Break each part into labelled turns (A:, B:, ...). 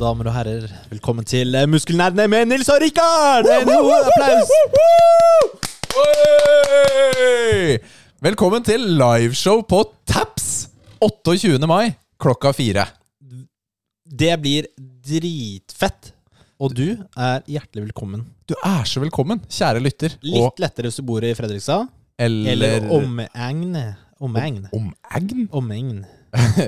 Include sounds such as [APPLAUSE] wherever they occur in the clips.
A: damer og herrer, velkommen til eh, Muskelnerdene med Nils og Rikard! En
B: Woo, woo,
A: god
B: woo,
A: applaus!
B: Oi! Velkommen til liveshow på Taps 28. mai klokka fire.
A: Det blir dritfett. Og du er hjertelig velkommen.
B: Du er så velkommen, kjære lytter.
A: Litt lettere hvis du bor i Fredrikstad. Eller omegn. Omegn.
B: Omegn?
A: Omegn.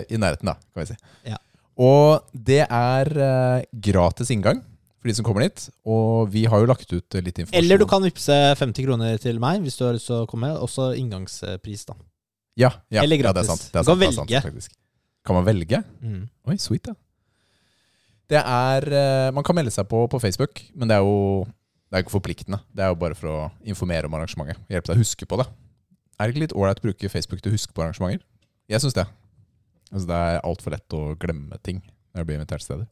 B: I nærheten, da, kan vi si.
A: Ja.
B: Og det er eh, gratis inngang for de som kommer dit. Og vi har jo lagt ut eh, litt informasjon.
A: Eller du kan vippse 50 kroner til meg hvis du har lyst til å komme. Også inngangspris, da.
B: ja, ja,
A: eller
B: Ja, det
A: gratis.
B: er sant. Det er
A: Du kan
B: sant, det er sant,
A: velge.
B: faktisk. kan man velge?
A: Mm.
B: Oi, sweet, da. Det er eh, Man kan melde seg på på Facebook, men det er jo Det er ikke forpliktende. Det er jo bare for å informere om arrangementet. Hjelpe deg å huske på det. Er det ikke litt ålreit å bruke Facebook til å huske på arrangementer? Jeg syns det. Altså, det er altfor lett å glemme ting når jeg blir invitert til steder.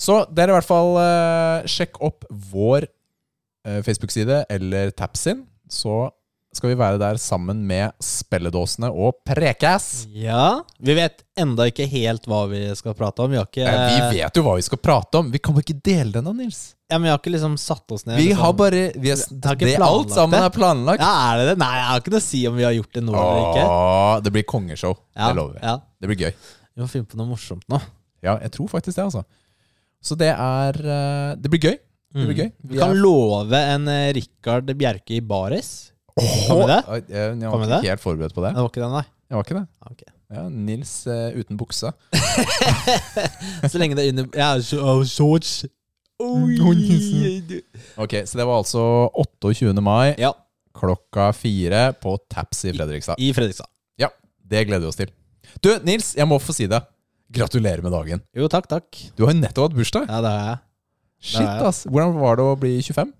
B: Så dere i hvert fall eh, sjekk opp vår eh, Facebook-side eller Tapsin, så skal vi være der sammen med spelledåsene og Prekas.
A: Ja. Vi vet enda ikke helt hva vi skal prate om. Vi har ikke,
B: Nei, Eh, vi vet jo hva vi skal prate om. Vi kan bare ikke dele den da, Nils.
A: ja, men vi har ikke liksom satt oss ned.
B: Vi
A: liksom.
B: har bare vi har,
A: Vi har ikke
B: det,
A: planlagt
B: Alt sammen
A: det.
B: er planlagt.
A: Ja, er det det? Nei, jeg har ikke noe å si om vi har gjort det nå eller ikke.
B: Åh, det blir kongeshow.
A: Ja,
B: det lover vi.
A: ja.
B: Det blir gøy.
A: Vi må finne på noe morsomt nå.
B: Ja, jeg tror faktisk det, altså. Så det er eh, Det blir gøy. Det blir gøy.
A: Mm. Vi kan
B: er-
A: love en eh, Rikard Bjerke i baris. Kan vi det?
B: Åh, Jeg, jeg,
A: Kan
B: var
A: vi
B: ikke
A: det?
B: helt forberedt på det.
A: Det var ikke den, nei.
B: Jeg var ikke det.
A: Ah, ok.
B: Ja, Nils eh, uten bukse.
A: Så lenge det er under Ja, så- oh, shorts. Oi.
B: Ok, Så det var altså 28. mai
A: Ja,
B: klokka fire på Taps i Fredrikstad.
A: i Fredrikstad.
B: Ja, det gleder vi oss til. Du, Nils, jeg må få si det. Gratulerer med dagen.
A: Jo, takk, takk.
B: Du har jo nettopp hatt bursdag.
A: Ja, det har jeg.
B: Shit,
A: ja.
B: ass. Hvordan var det å bli 25?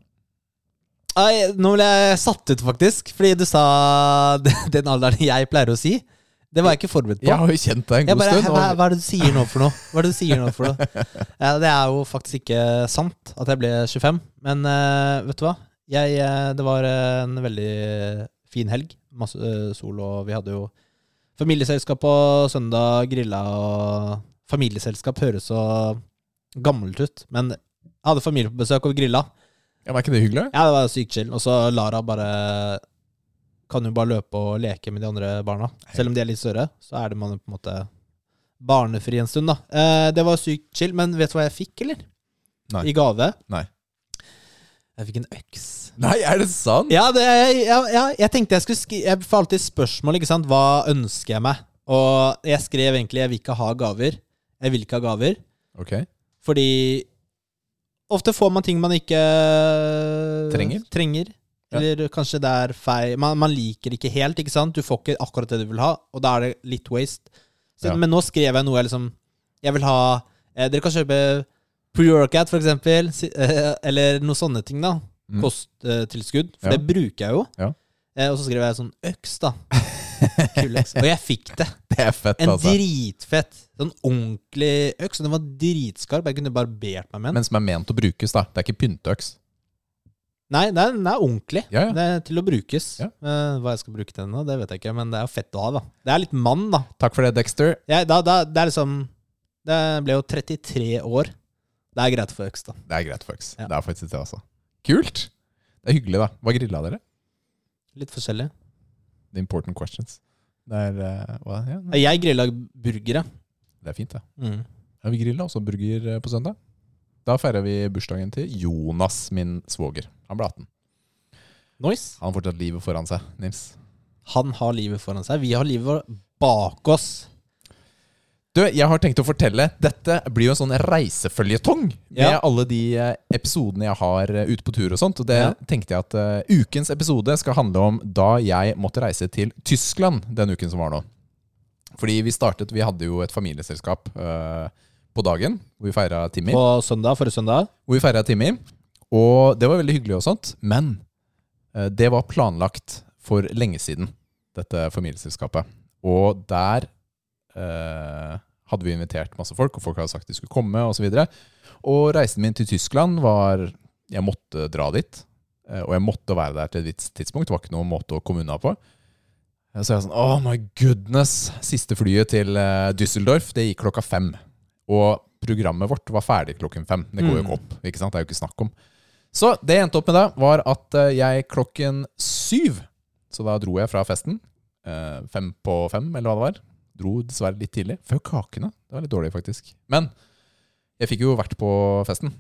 A: Ai, nå ble jeg satt ut, faktisk, fordi du sa [LAUGHS] den alderen jeg pleier å si. Det var jeg ikke forberedt på.
B: Jeg har jo kjent deg en
A: Jeg
B: god
A: bare,
B: stund.
A: hva,
B: og-
A: hva er det du sier nå for noe? Hva er det du sier nå for
B: [LAUGHS]
A: noe? Ja, det er jo faktisk ikke sant at jeg ble 25, men eh, vet du hva? Jeg, eh, det var en veldig fin helg. Masse eh, sol, og vi hadde jo familieselskap på søndag, grilla og Familieselskap høres så gammelt ut, men jeg hadde familie på besøk, og vi grilla.
B: Ja, var ikke det hyggelig?
A: Ja, det var sykt chill. Og så Lara bare kan jo bare løpe og leke med de andre barna. Selv om de er litt større, så er det man jo på en måte barnefri en stund, da. Eh, det var sykt chill, men vet du hva jeg fikk, eller?
B: Nei.
A: I gave?
B: Nei.
A: Jeg fikk en øks.
B: Nei, er det sant?
A: Ja, det, jeg, ja, ja, jeg tenkte jeg skulle skri Jeg får alltid spørsmål, ikke sant. Hva ønsker jeg meg? Og jeg skrev egentlig 'jeg vil ikke ha gaver'. Jeg vil ikke ha gaver.
B: Ok.
A: Fordi ofte får man ting man ikke eh,
B: Trenger. Ja.
A: Eller kanskje det er feil man, man liker ikke helt, ikke sant? Du får ikke akkurat det du vil ha, og da er det litt waste. Så,
B: Ja.
A: Men nå skrev jeg noe jeg liksom Jeg vil ha eh, Dere kan kjøpe pre-workout, for eksempel, si- eh, eller noe sånne ting, da.
B: Mm.
A: Kosttilskudd. For
B: Ja.
A: det bruker jeg jo.
B: Ja.
A: Eh, og så skrev jeg sånn øks,
B: [LAUGHS]
A: da. Kuløks. Og jeg fikk det.
B: Det er fett,
A: En
B: altså.
A: dritfett, sånn ordentlig øks. og Den var dritskarp. Jeg kunne barbert meg med den.
B: Men som er ment å brukes, da. Det er ikke pynteøks.
A: Nei, nei, den er ordentlig.
B: Ja, ja.
A: Det er til å brukes.
B: Ja.
A: Eh, hva jeg skal bruke den til, det vet jeg ikke, men det er jo fett å ha, da. Det er litt mann, da.
B: Takk for det, Dexter.
A: Jeg, da, da det er liksom Det ble jo 33 år. Det er greit for øks, da.
B: Det er greit, folks.
A: Ja.
B: Det er faktisk det, altså. Kult! Det er hyggelig, da. Hva grilla dere?
A: Litt forskjellig.
B: The important questions. Det er, eh, hva? Ja, nei.
A: Jeg grilla burgere.
B: det er fint, det.
A: Mm.
B: Ja, vi grilla også burger eh, på søndag. Da feirer vi bursdagen til Jonas, min svoger. Han ble 18.
A: Nice.
B: Han har fortsatt livet foran seg, Nils.
A: Han har livet foran seg. Vi har livet vårt bak oss.
B: Du, jeg har tenkt å fortelle Dette blir jo en sånn reiseføljetong Med
A: Ja.
B: alle de eh, episodene jeg har eh, ute på tur og sånt Og det
A: Ja.
B: tenkte jeg at eh, ukens episode skal handle om Da jeg måtte reise til Tyskland Den uken som var nå Fordi vi startet, vi hadde jo et familieselskap eh, På dagen Hvor vi feiret Timmy
A: På søndag, forrige søndag.
B: Hvor vi feiret Timmy Og det var veldig hyggelig og sånt Men eh, det var planlagt for lenge siden Dette familieselskapet Og der eh, hadde vi invitert masse folk, og folk hadde sagt de skulle komme, osv. Og, så videre. og reisen min til Tyskland var Jeg måtte dra dit. eh, Og jeg måtte være der til et visst tidspunkt. Det var ikke noen måte å komme unna på. Eh, Så jeg var sånn Oh my goodness! Siste flyet til eh, Düsseldorf, det gikk klokka fem. Og programmet vårt var ferdig klokken fem. Det går jo ikke opp. ikke sant? Det er jo ikke snakk om. Så det jeg endte opp med da, var at eh, jeg klokken syv Så da dro jeg fra festen. eh, Fem på fem, eller hva det var. Dro dessverre litt tidlig. Før kakene. Det var litt dårlig, faktisk. Men jeg fikk jo vært på festen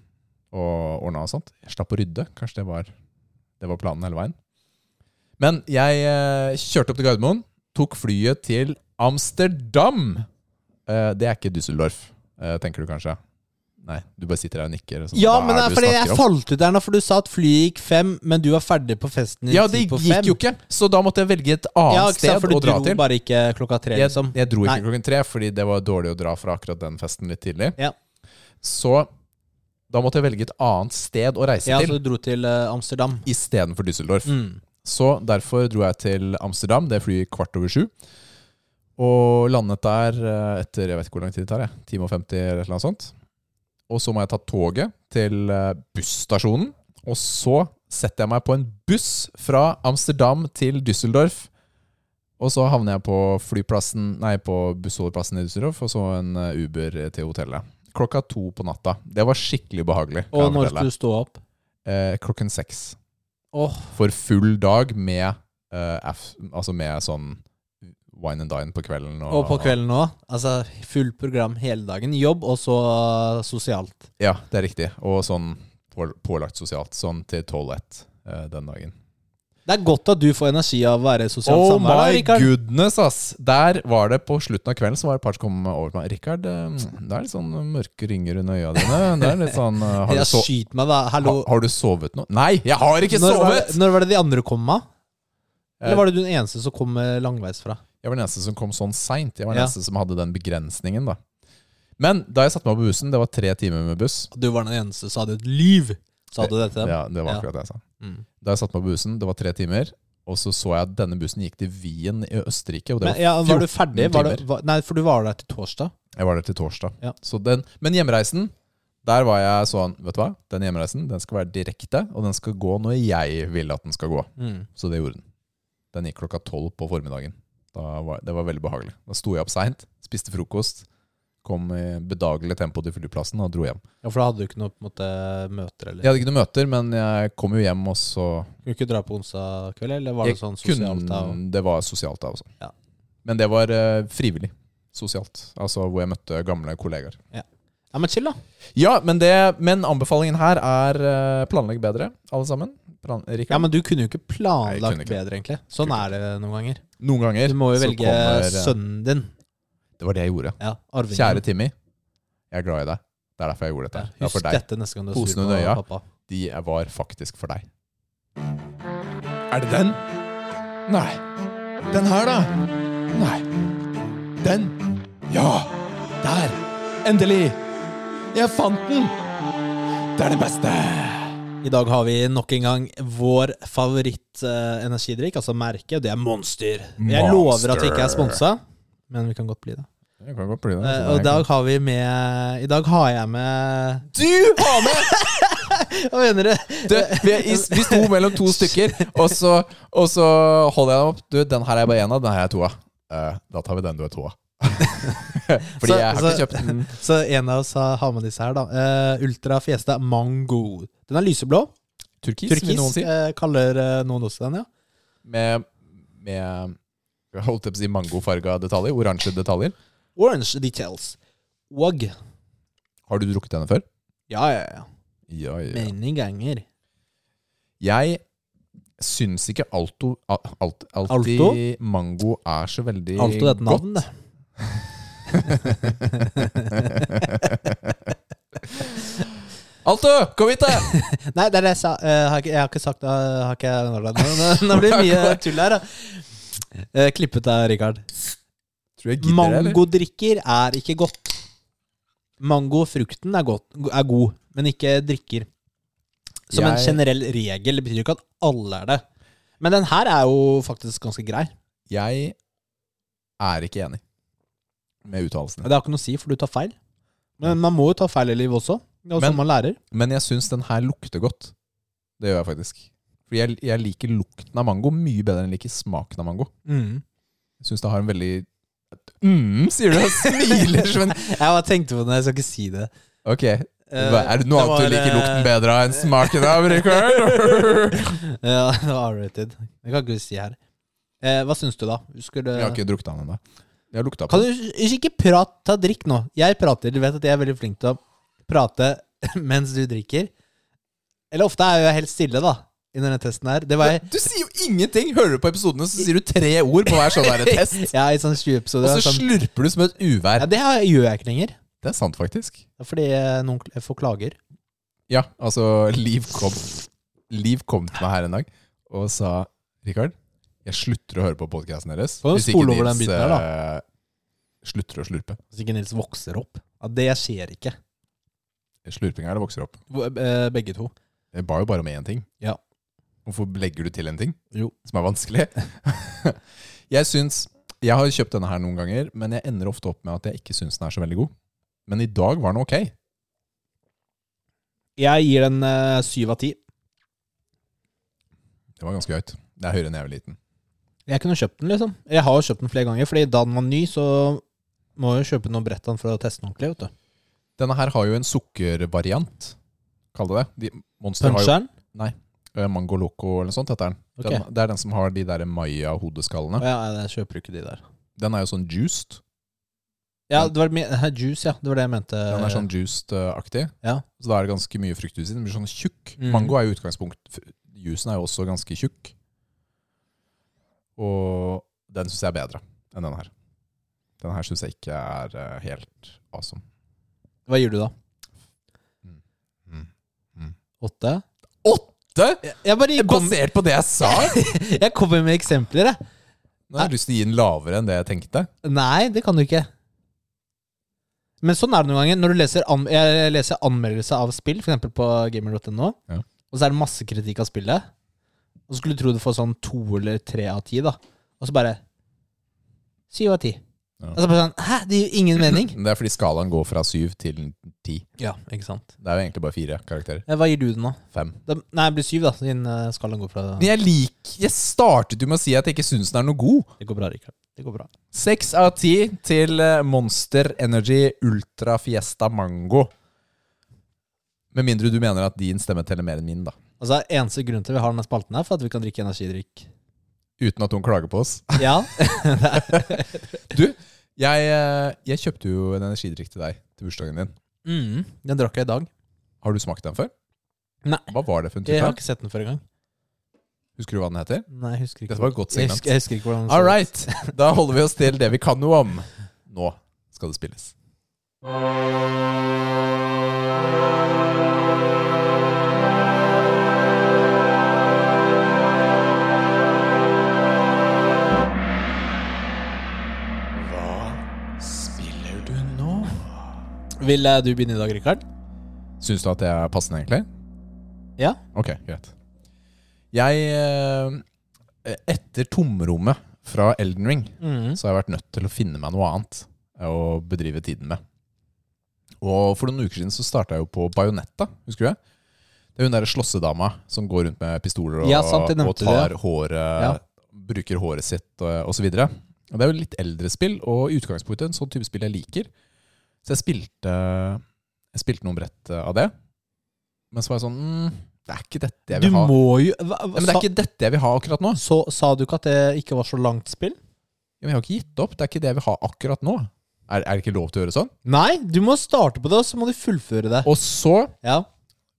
B: og ordna og sånt. Jeg slapp å rydde. Kanskje det var, det var planen hele veien. Men jeg eh, kjørte opp til Gardermoen, tok flyet til Amsterdam. Eh, det er ikke Düsseldorf, eh, tenker du kanskje. Nei, du bare sitter her og nikker. og sånn,
A: Ja,
B: hva
A: men det
B: er
A: er
B: det du
A: fordi
B: snakker
A: jeg
B: om?
A: falt ut der nå, for du sa at flyet gikk fem, men du var ferdig på festen i
B: Ja,
A: ti
B: det
A: på
B: gikk
A: fem.
B: jo ikke, så da måtte jeg velge et annet
A: Ja, ikke sant,
B: sted
A: for du
B: å dra
A: dro
B: til.
A: bare ikke klokka tre,
B: Jeg,
A: liksom.
B: jeg dro ikke
A: Nei.
B: klokken tre, fordi det var dårlig å dra fra akkurat den festen litt tidlig.
A: Ja.
B: Så da måtte jeg velge et annet sted å reise
A: Ja,
B: til
A: så du dro til eh, Amsterdam.
B: istedenfor Düsseldorf.
A: Mm.
B: Så derfor dro jeg til Amsterdam, det flyr kvart over sju. Og landet der eh, etter jeg vet ikke hvor lang tid det tar, jeg. time og 50 eller et eller annet sånt. Og så må jeg ta toget til eh, busstasjonen. Og så setter jeg meg på en buss fra Amsterdam til Düsseldorf. Og så havner jeg på flyplassen, nei, på bussholdeplassen i Düsseldorf, og så en eh, Uber til hotellet. Klokka to på natta. Det var skikkelig behagelig. kan
A: Og
B: jeg
A: når
B: fortelle.
A: skulle du stå opp?
B: Eh, klokken seks
A: Åh,
B: for full dag med, eh, F, altså med sånn wine and dine på kvelden. Og,
A: og på kvelden nå Altså fullt program hele dagen. Jobb, og så eh, sosialt.
B: Ja, det er riktig. Og sånn på- pålagt sosialt. Sånn til tolv ett eh, den dagen.
A: Det er godt at du får energi av å være sosialt
B: Oh
A: samvær. da,
B: my
A: sånn Rikard.
B: goodness, ass! Der var det på slutten av kvelden så var det et par som kom over til meg. Rikard, eh, det er litt sånn mørke ringer under øya dine. Det er litt sånn eh, har,
A: [LAUGHS] Ja,
B: du so
A: skyt meg, da. Hallo.
B: ha, har du sovet nå? Nei, jeg har ikke
A: når, var
B: sovet!
A: det, når var det de andre kom med? Eller
B: Eh,
A: var det du den eneste som kom eh, langveisfra?
B: Jeg var den eneste som kom sånn seint. Jeg var den
A: Ja.
B: eneste som hadde den begrensningen, da. Men da jeg satte meg på bussen, det var tre timer med buss.
A: Du var den eneste som hadde et liv, sa du det til dem?
B: Ja, det var
A: Ja.
B: akkurat det jeg sa.
A: Mm.
B: Da jeg satte meg på bussen, det var tre timer, og så så jeg at denne bussen gikk til Wien i Østerrike. Og det
A: Men,
B: var,
A: ja, var du
B: 14
A: ferdig? Var det,
B: timer.
A: var, nei, for du var der til torsdag.
B: Jeg var der til torsdag.
A: Ja.
B: Så den, men hjemreisen, der var jeg sånn Vet du hva? Den hjemreisen den skal være direkte, og den skal gå når jeg vil at den skal gå. Så det gjorde den. Den gikk klokka tolv på formiddagen. Da var, det var veldig behagelig. Da sto jeg opp seint, spiste frokost, kom i bedagelig tempo til flyplassen og dro hjem.
A: Ja, For da hadde du ikke noe på en måte, møter, eller?
B: Jeg hadde ikke noen møter, men jeg kom jo hjem, og så
A: Kunne du ikke dra på onsdag kveld, eller var det
B: Jeg
A: sånn sosialt? da?
B: Kun, det var sosialt da også.
A: Ja.
B: Men det var eh, frivillig sosialt, altså hvor jeg møtte gamle kollegaer.
A: Ja, men chill, da.
B: Ja, men, det, men anbefalingen her er eh, planlegg bedre, alle sammen. Plan, eh, Rikard,
A: Ja, Men du kunne jo ikke
B: Nei, jeg
A: planlagt
B: kunne ikke.
A: bedre, egentlig. Sånn
B: Kunne
A: er det noen ganger.
B: noen ganger
A: Du må jo
B: så
A: velge
B: kommer, eh,
A: sønnen din.
B: Det var det jeg gjorde.
A: Ja, arvingen.
B: Kjære Timmy, jeg er glad i deg. Det er derfor jeg gjorde
A: Ja,
B: dette. det er
A: Husk
B: for deg.
A: dette neste gang du er
B: Posen
A: sur
B: under
A: på
B: øya.
A: pappa.
B: De var faktisk for deg. Er det den? Nei. Den her, da? Nei. Den? Ja! Der! Endelig! Jeg fant den! Det er det beste!
A: I dag har vi nok en gang vår favoritt-energidrikk, altså merket. Det er Monster. Jeg lover at vi ikke er sponsa, men vi kan godt bli det.
B: Jeg kan godt bli altså. det.
A: Eh, og i dag har vi med I dag har jeg med
B: Du har med!
A: Hva mener du?
B: [LAUGHS] Du, vi, er i, vi sto mellom to stykker, og så, og så holder jeg dem opp. Du, den her er bare én av, den her er to av. Eh, da tar vi den du er to [LAUGHS] av. Fordi
A: Så-
B: jeg har ikke
A: så-
B: kjøpt den.
A: Så en av oss har har med disse her, da. Eh, Ultra Fiesta Mango. Den er lyseblå.
B: Turkis, vil noen
A: Turkis
B: si.
A: eh, kaller eh, noen også den, ja.
B: med, med jeg holdt jeg på å si mangofarga detaljer, oransje detaljer.
A: Orange Details. Og
B: Har du drukket denne før?
A: Ja, ja, ja.
B: Ja,
A: Mange ganger.
B: Jeg syns ikke alto, al, alt, alltid
A: Alto?
B: mango er så veldig
A: Alto er et
B: godt.
A: navn, det.
B: Alto, kom hit, da!
A: Nei, det er det jeg sa. Eh, har ikke, jeg har ikke sagt det. Har ikke, nå, nå, nå, nå blir det [LAUGHS] mye tull her, da. Eh, klippet av Richard.
B: Tror jeg gidder det, eller?
A: Mangodrikker er ikke godt. Mangofrukten er, godt, er god, men ikke drikker. Som en
B: Jeg-
A: generell regel. Det betyr jo ikke at alle er det. Men den her er jo faktisk ganske grei.
B: Jeg er ikke enig med uttalelsen.
A: Det har ikke noe å si, for du tar feil. Men man må jo ta feil i livet også. Det er jo
B: Men-
A: sånn man lærer.
B: Men jeg syns den her lukter godt. Det gjør jeg faktisk. Fordi jeg, jeg liker Mm. lukten av mango mye bedre enn jeg liker smaken av mango. Jeg syns det har en veldig mm, sier du og smiler som en
A: Jeg bare tenkte på det, jeg skal ikke si det.
B: Ok, hva, er det noe
A: Eh,
B: annet du
A: var,
B: liker
A: eh,
B: lukten bedre av enn smaken av,
A: [LAUGHS]
B: Rikard?
A: Ja, det var R-rated. Det kan ikke du si her. Eh, hva syns du, da? Skulle,
B: Jeg har ikke drukket av den ennå. Jeg har lukta på
A: Kan du ikke ikke prate, ta drikk nå? Jeg prater, du vet at jeg er veldig flink til å prate [LAUGHS] mens du drikker. Eller ofte er jeg helt stille, da, under denne testen her. Det var jeg
B: Du sier jo ingenting! Hører du på episodene, så sier du tre ord på hver sånn
A: [LAUGHS]
B: der test.
A: ja, i sånn 20
B: Og
A: episoder.
B: så
A: Sånn,
B: slurper du som et
A: ja,
B: uvær.
A: det har- gjør jeg ikke lenger.
B: Det er sant, faktisk.
A: Det er Fordi eh, noen kl- får klager.
B: Ja, altså Liv kom, Liv kom til meg her en dag og sa Rikard, jeg slutter å høre på podkasten deres.
A: Kan du
B: hvis ikke
A: spole over den
B: Nils,
A: biten her,
B: eh, Slutter å slurpe.
A: Hvis ikke Nils vokser opp. Ja, det skjer ikke.
B: Slurping er det vokser opp.
A: Hvor- eh, Begge to.
B: Jeg ba jo bare om én ting.
A: Ja.
B: Hvorfor legger du til en ting
A: Jo.
B: som er vanskelig? [LAUGHS] jeg syns Jeg har kjøpt denne her noen ganger, men jeg ender ofte opp med at jeg ikke syns den er så veldig god. Men i dag var den ok.
A: Jeg gir den eh, syv av ti.
B: Det var ganske høyt. Det er høyere enn jeg var liten.
A: Jeg kunne kjøpt den, liksom. Jeg har jo kjøpt den flere ganger, fordi da den var ny, så må jeg jo kjøpe noen brett av den for å teste den ordentlig. vet du.
B: Denne her har jo en sukkervariant, kall det det. De, Monster har jo
A: Puncheren?
B: Eh, Mango Loco eller noe sånt heter den.
A: Ok.
B: den. Det er den som har de der
A: Å,
B: Maya-hodeskallene.
A: Ja, jeg kjøper ikke de der.
B: Den er jo sånn juiced.
A: Ja, det var min, juice, ja. Det var det jeg mente.
B: Den er sånn juiced-aktig.
A: Eh. Ja.
B: Så da er det ganske mye frukt i den. Den blir sånn tjukk.
A: Mhm.
B: Mango er jo utgangspunkt f- Juicen er jo også ganske tjukk. Og den syns jeg er bedre enn den her. Den her syns jeg ikke er eh, helt awesome.
A: Hva gir du da?
B: Mm.
A: Åtte?
B: Åtte?!
A: Jeg, jeg bare kom,
B: Basert på det jeg sa?!
A: jeg kommer med eksempler, jeg.
B: Nå har jeg lyst til å gi den lavere enn det jeg tenkte.
A: Nei, det kan du ikke. Men sånn er det noen ganger. Når du leser, an, jeg leser anmeldelse av spill, f.eks. på gamer.no,
B: Ja.
A: og så er det masse kritikk av spillet, og så skulle du tro du får sånn to eller tre av ti, da. Og så bare Syv av ti.
B: Ja.
A: Og så bare sånn Hæ, det gir jo ingen mening.
B: Men Det er fordi skalaen går fra syv til ti.
A: ja, ikke sant.
B: Det er jo egentlig bare fire karakterer.
A: Eh, Hva gir du den, da?
B: Fem.
A: Da- Nei, det blir syv, da. Siden eh, skalaen går fra
B: Men jeg lik Jeg startet jo med å si at jeg ikke syns den er noe god.
A: Det går bra, Rikard. Det går bra.
B: Seks av ti til eh, Monster Energy Ultra Fiesta Mango. Med mindre du mener at din stemme teller mer enn min, da.
A: Altså, Eneste grunn til vi har denne spalten, her for at vi kan drikke [LAUGHS] energidrikk.
B: Uten at hun klager på oss.
A: Ja,
B: Du, jeg, eh, jeg kjøpte jo en energidrikk til deg til bursdagen din.
A: mm, Den drakk jeg i dag.
B: Har du smakt den før?
A: Nei.
B: Hva var det for en
A: Jeg
B: type?
A: har ikke sett den før engang.
B: Husker du hva den heter?
A: Nei, jeg husker ikke.
B: Dette var et godt
A: Jeg
B: segment.
A: husker, jeg husker ikke hvordan den så ut.
B: All right, [LAUGHS] da holder vi oss til det vi kan noe om. Nå skal det spilles. Hva spiller du nå?
A: Vil eh, du begynne i dag, Rikard?
B: Syns du at det er passende, egentlig?
A: Ja.
B: Ok, greit. Jeg eh, Etter tomrommet fra Elden Ring
A: Mm.
B: så har jeg vært nødt til å finne meg noe annet å bedrive tiden med. Og for noen uker siden så starta jeg jo på Bajonetta, husker du det? Det er hun derre slåssedama som går rundt med pistoler og,
A: Ja, sant, det nevnte
B: og
A: du,
B: tar
A: ja.
B: håret
A: Ja.
B: Bruker håret sitt og osv. Det er jo litt eldre spill, og i utgangspunktet en sånn type spill jeg liker. Så jeg spilte, jeg spilte noen brett eh, av det. Men så var jeg sånn mm, Det er ikke dette jeg
A: Du
B: vil ha.
A: må jo hva, hva,
B: Ja, men det er ikke dette jeg vil ha akkurat nå.
A: sa, så, sa du ikke at det ikke var så langt spill?
B: Ja, men jeg har ikke gitt opp. Det er ikke det jeg vil ha akkurat nå. Er, er det ikke lov til å gjøre sånn?
A: Nei, du må starte på det, og så må du fullføre det.
B: Og så
A: Ja,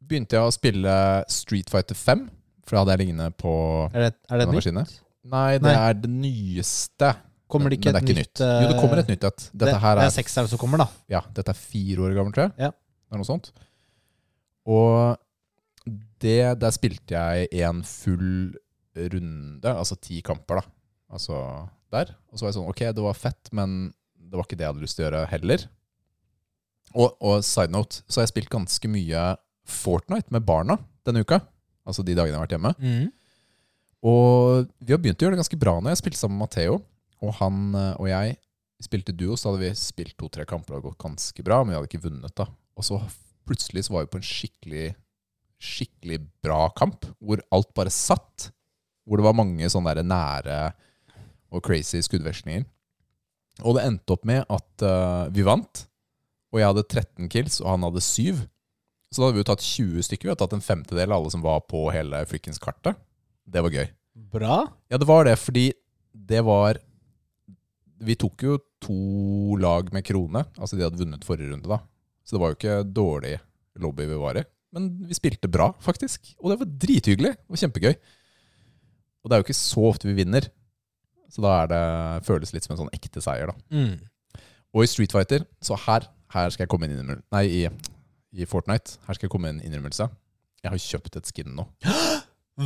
B: begynte jeg å spille Street Fighter 5. For da hadde jeg lignende på
A: Er det, er det
B: Denne
A: nytt?
B: maskinen? Nei, det
A: Nei.
B: er det nyeste.
A: Kommer det ikke
B: men det er
A: et
B: ikke
A: nytt, eh,
B: nytt. Jo, det kommer et nytt et. Dette her
A: det
B: er,
A: er seks her som kommer, da.
B: ja, dette er fire år gammelt, tror jeg.
A: Ja.
B: Det er noe sånt. Og det, der spilte jeg en full runde, altså ti kamper, da. Altså der. Og så var jeg sånn, ok, det var fett, men det var ikke det jeg hadde lyst til å gjøre heller. Og, og side note, så har jeg spilt ganske mye Fortnite med barna denne uka. Altså de dagene jeg har vært hjemme.
A: Mm.
B: Og vi har begynt å gjøre det ganske bra nå. Jeg spilte sammen med Matheo, og han eh, og jeg spilte duo, så hadde vi spilt to-tre kamper og det hadde gått ganske bra, men vi hadde ikke vunnet da. Og så plutselig så var vi på en skikkelig, skikkelig bra kamp, hvor alt bare satt. Hvor det var mange sånne der nære og crazy skuddvekslinger. Og det endte opp med at eh, vi vant, og jeg hadde 13 kills, og han hadde 7. Så da hadde vi jo tatt 20 stykker. Vi hadde tatt en femtedel av alle som var på hele frikkens kartet. Det var gøy.
A: Bra.
B: Ja, det var det, fordi det var Vi tok jo to lag med krone. Altså, de hadde vunnet forrige runde, da. Så det var jo ikke dårlig lobby vi var i. Men vi spilte bra, faktisk. Og det var drithyggelig og kjempegøy. Og det er jo ikke så ofte vi vinner, så da er det, føles litt som en sånn ekte seier, da.
A: Mm.
B: Og i Street Fighter, så her, her skal jeg komme inn i innrømmel- Nei, i, i Fortnite. Her skal jeg komme inn i en innrømmelse. Jeg har kjøpt et skin nå.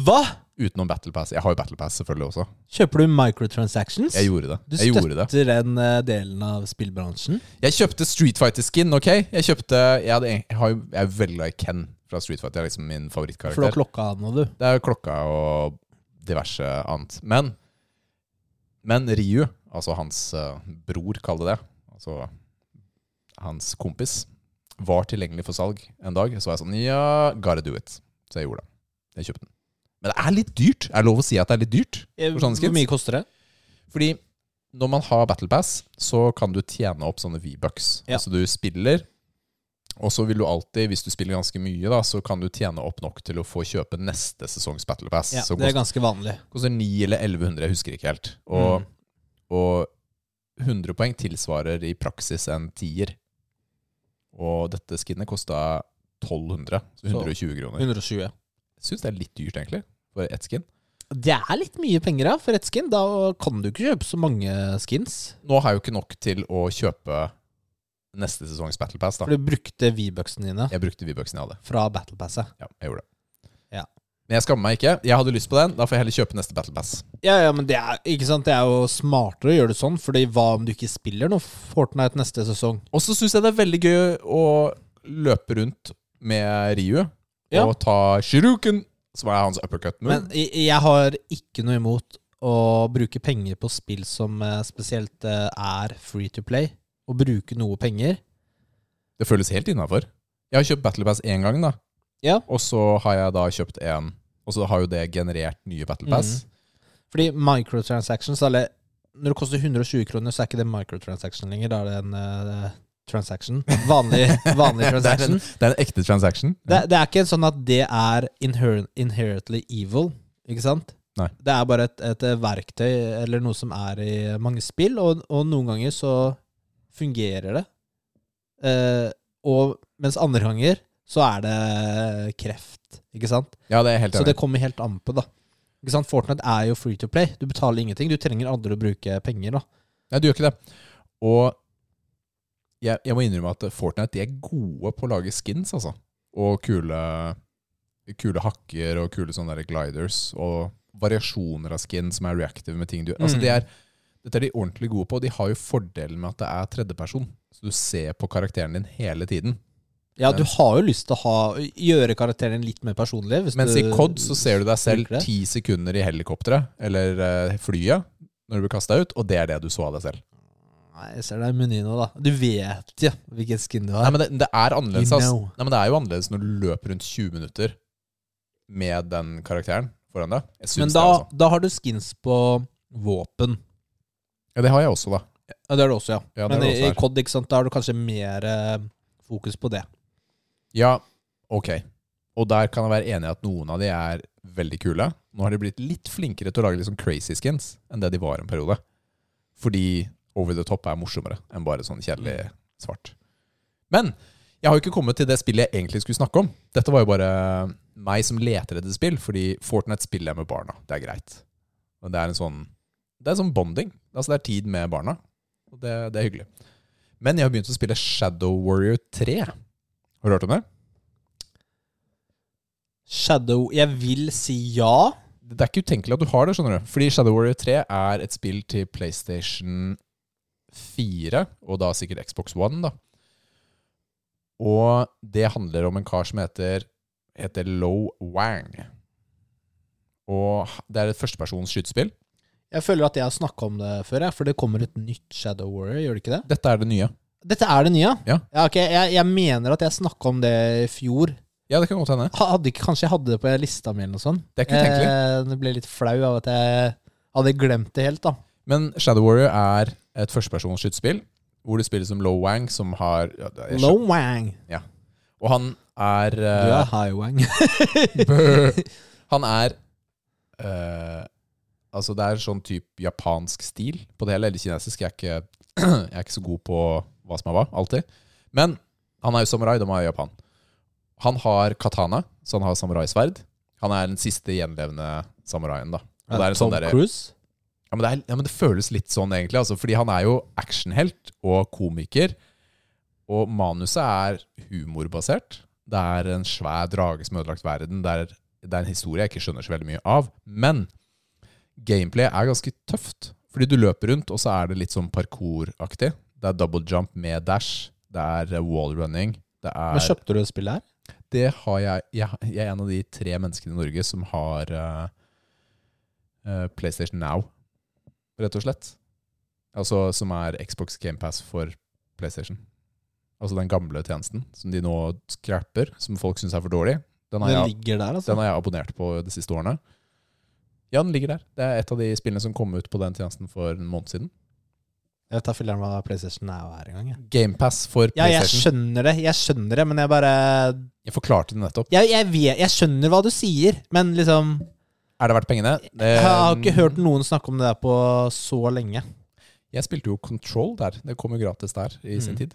A: Hva?
B: Utenom Battle Pass. Jeg har jo Battle Pass selvfølgelig også.
A: Kjøper du microtransactions?
B: Jeg gjorde det.
A: du
B: Jeg gjorde det.
A: støtter den eh, delen av spillbransjen.
B: Jeg kjøpte Street Fighter-skin, ok? Jeg kjøpte Jeg, hadde, jeg, har, jo- jeg er veldig glad i Ken fra Street Fighter. Det er liksom min
A: For da
B: favorittkarakter.
A: klokka an, og du.
B: Det er jo klokka og diverse annet. Men, men Ryu, altså hans eh, bror, kall det det, altså hans kompis, var tilgjengelig for salg en dag. Så var jeg sånn Ja, gotta do it. Så jeg gjorde det. Jeg kjøpte den. Men det er litt dyrt. Er det lov å si at det er litt dyrt?
A: Eh,
B: For sånne skins?
A: Hvor mye koster det?
B: Fordi når man har Battle Pass, så kan du tjene opp sånne V-bucks.
A: Ja.
B: Altså du spiller, og så vil du alltid, hvis du spiller ganske mye, da, så kan du tjene opp nok til å få kjøpe neste sesongs Battle Pass.
A: Ja,
B: som
A: det er
B: koster,
A: ganske vanlig.
B: koster 9 eller 1100, jeg husker ikke helt. Og,
A: Mm.
B: og 100 poeng tilsvarer i praksis en tier. Og dette skinnet kosta 1200, så
A: Så,
B: 120 kroner.
A: 120.
B: Jeg syns det er litt dyrt, egentlig, for ett skin.
A: Det er litt mye penger da, for ett skin. Da kan du ikke kjøpe så mange skins.
B: Nå har jeg jo ikke nok til å kjøpe neste sesongs Battle Pass, da.
A: For du brukte V-bucksene dine
B: Jeg brukte V-bucksene jeg hadde.
A: fra Battle Passet.
B: Ja, jeg gjorde det.
A: Ja.
B: Men jeg skammer meg ikke. Jeg hadde lyst på den. Da får jeg heller kjøpe neste Battle Pass.
A: Ja, ja, men det er, ikke sant? det er jo smartere å gjøre det sånn, Fordi hva om du ikke spiller noe Fortnite neste sesong?
B: Og så syns jeg det er veldig gøy å løpe rundt med Ryu
A: Ja.
B: og ta Shiruken, som er hans uppercut move.
A: Men jeg, jeg har ikke noe imot å bruke penger på spill som eh, spesielt eh, er free to play. Å bruke noe penger.
B: det føles helt innafor. Jeg har kjøpt Battle Pass én gang, da.
A: Ja.
B: Og så har jeg da kjøpt én. Og så har jo det generert nye Battle Pass.
A: Mm. Fordi microtransactions eller, Når det koster 120 kroner, så er ikke det microtransaction lenger. Da er det en eh, transaction. Vanlig,
B: [LAUGHS]
A: vanlig
B: Det, er en,
A: transaction.
B: det er en ekte transaction.
A: Det, det er ikke sånn at det er inher inherently evil, ikke sant?
B: Nei.
A: Det er bare et, et verktøy eller noe som er i mange spill, og, og noen ganger så fungerer det. Eh, og mens andre ganger så er det kreft, ikke sant?
B: Ja, det er jeg helt
A: Så
B: enig.
A: det kommer helt an på, da. Ikke sant? Fortnite er jo free to play. Du betaler ingenting. Du trenger aldri å bruke penger, da.
B: Nei, du gjør ikke det. Og jeg, jeg må innrømme at Fortnite de er gode på å lage skins, altså. Og kule, kule hakker og kule sånne der gliders. Og variasjoner av skin som er reactive med ting du Altså,
A: Mm.
B: de er, Dette er de ordentlig gode på. og De har jo fordelen med at det er tredjeperson. Så du ser på karakteren din hele tiden.
A: Ja, du har jo lyst til å ha, gjøre karakteren litt mer personlig. Hvis
B: Mens i
A: du-
B: COD så ser du deg selv
A: bruker det.
B: ti sekunder i helikopteret eller eh, flyet når du blir kasta ut, og det er det du så av deg selv.
A: Nei, jeg ser deg i menyen nå, da. Du vet jo hvilken skin du
B: Nei,
A: har.
B: men det, det er annerledes. ass.
A: You know.
B: Nei, men det er jo annerledes når du løper rundt 20 minutter med den karakteren foran deg. Jeg syns
A: men
B: det,
A: da,
B: altså.
A: da har du skins på våpen.
B: Ja, det har jeg også, da.
A: Ja, det har du også, ja.
B: Ja, det
A: men
B: har du
A: i,
B: også
A: i
B: her.
A: COD, ikke sant, da har du kanskje mer eh, fokus på det.
B: Ja, ok. Og der kan jeg være enig i at noen av de er veldig kule. Nå har de blitt litt flinkere til å lage litt sånn crazy skins enn det de var en periode. Fordi over the top er morsommere enn bare sånn kjedelig svart. Men jeg har jo ikke kommet til det spillet jeg egentlig skulle snakke om. Dette var jo bare meg som leter etter spill, fordi Fortnite spiller jeg med barna. Det er greit. Men det er en sånn Det er sånn bonding. Altså det er tid med barna. Og det, det er hyggelig. Men jeg har begynt å spille Shadow Warrior 3. Har du hørt om det?
A: Shadow Jeg vil si ja.
B: Det er ikke utenkelig at du har det, skjønner du. Fordi Shadow Warrior 3 er et spill til PlayStation 4, og da sikkert Xbox One, da. Og det handler om en kar som heter, heter Lo Wang. Og h- det er et førstepersons skytespill.
A: Jeg føler at jeg har snakka om det før, jeg, for det kommer et nytt Shadow Warrior, gjør det ikke det?
B: Dette er det nye.
A: Dette er det nye?
B: Ja.
A: ok, jeg, jeg mener at jeg snakka om det i fjor.
B: Ja, det kan godt hende.
A: Ha- Hadde, ikke- kanskje jeg hadde det på lista mi eller noe sånt.
B: Det er ikke utenkelig.
A: Eh, det ble litt flau av at jeg hadde glemt det helt, da.
B: Men Shadow Warrior er Et førstepersons skytespill hvor det spilles som Lo Wang, som har ja, det er- jeg skjønner-
A: Low wang.
B: Og han er
A: Du
B: eh,
A: er high wang.
B: [LAUGHS] Han er eh, Altså, det er sånn type japansk stil på det hele. Eller kinesisk. Jeg er ikke, [CLEARS THROAT] jeg er ikke så god på hva som er hva, alltid. Men han er jo samurai, de er i Japan. Han har katana, så han har samuraisverd. Han er den siste gjenlevende samuraien, da. Og det er en sånn
A: Tom
B: derre-
A: Cruise.
B: ja, men det, er, ja, men det føles litt sånn, egentlig. Altså, fordi han er jo actionhelt og komiker. Og manuset er humorbasert. Det er en svær drage som har ødelagt verden. Det er, det er en historie jeg ikke skjønner så veldig mye av. Men gameplay er ganske tøft. Fordi du løper rundt, og så er det litt sånn parkouraktig. Det er double jump med dash. Det er eh, wall running. Det
A: Men
B: er
A: kjøpte du det spillet her?
B: det har jeg, jeg Jeg er en av de tre menneskene i Norge som har eh, eh, PlayStation Now, rett og slett. Altså som er Xbox GamePass for PlayStation. Altså den gamle tjenesten som de nå scrapper, som folk syns er for dårlig. Den har,
A: Den
B: jeg,
A: ligger der, altså.
B: den har jeg abonnert på de siste årene. Ja, den ligger der. Det er et av de spillene som kom ut på den tjenesten for en måned siden.
A: Jeg vet da filler'n hva PlayStation er her engang. jeg.
B: GamePass for
A: Ja, jeg
B: PlayStation.
A: skjønner det, jeg skjønner det, men jeg bare
B: jeg forklarte det nettopp.
A: Jeg, jeg, vet, jeg skjønner hva du sier, men liksom
B: Er det verdt pengene?
A: Jeg har ikke
B: Eh,
A: hørt noen snakke om det der på så lenge.
B: Jeg spilte jo Control der. Det kom jo gratis der i sin
A: Mm.
B: tid.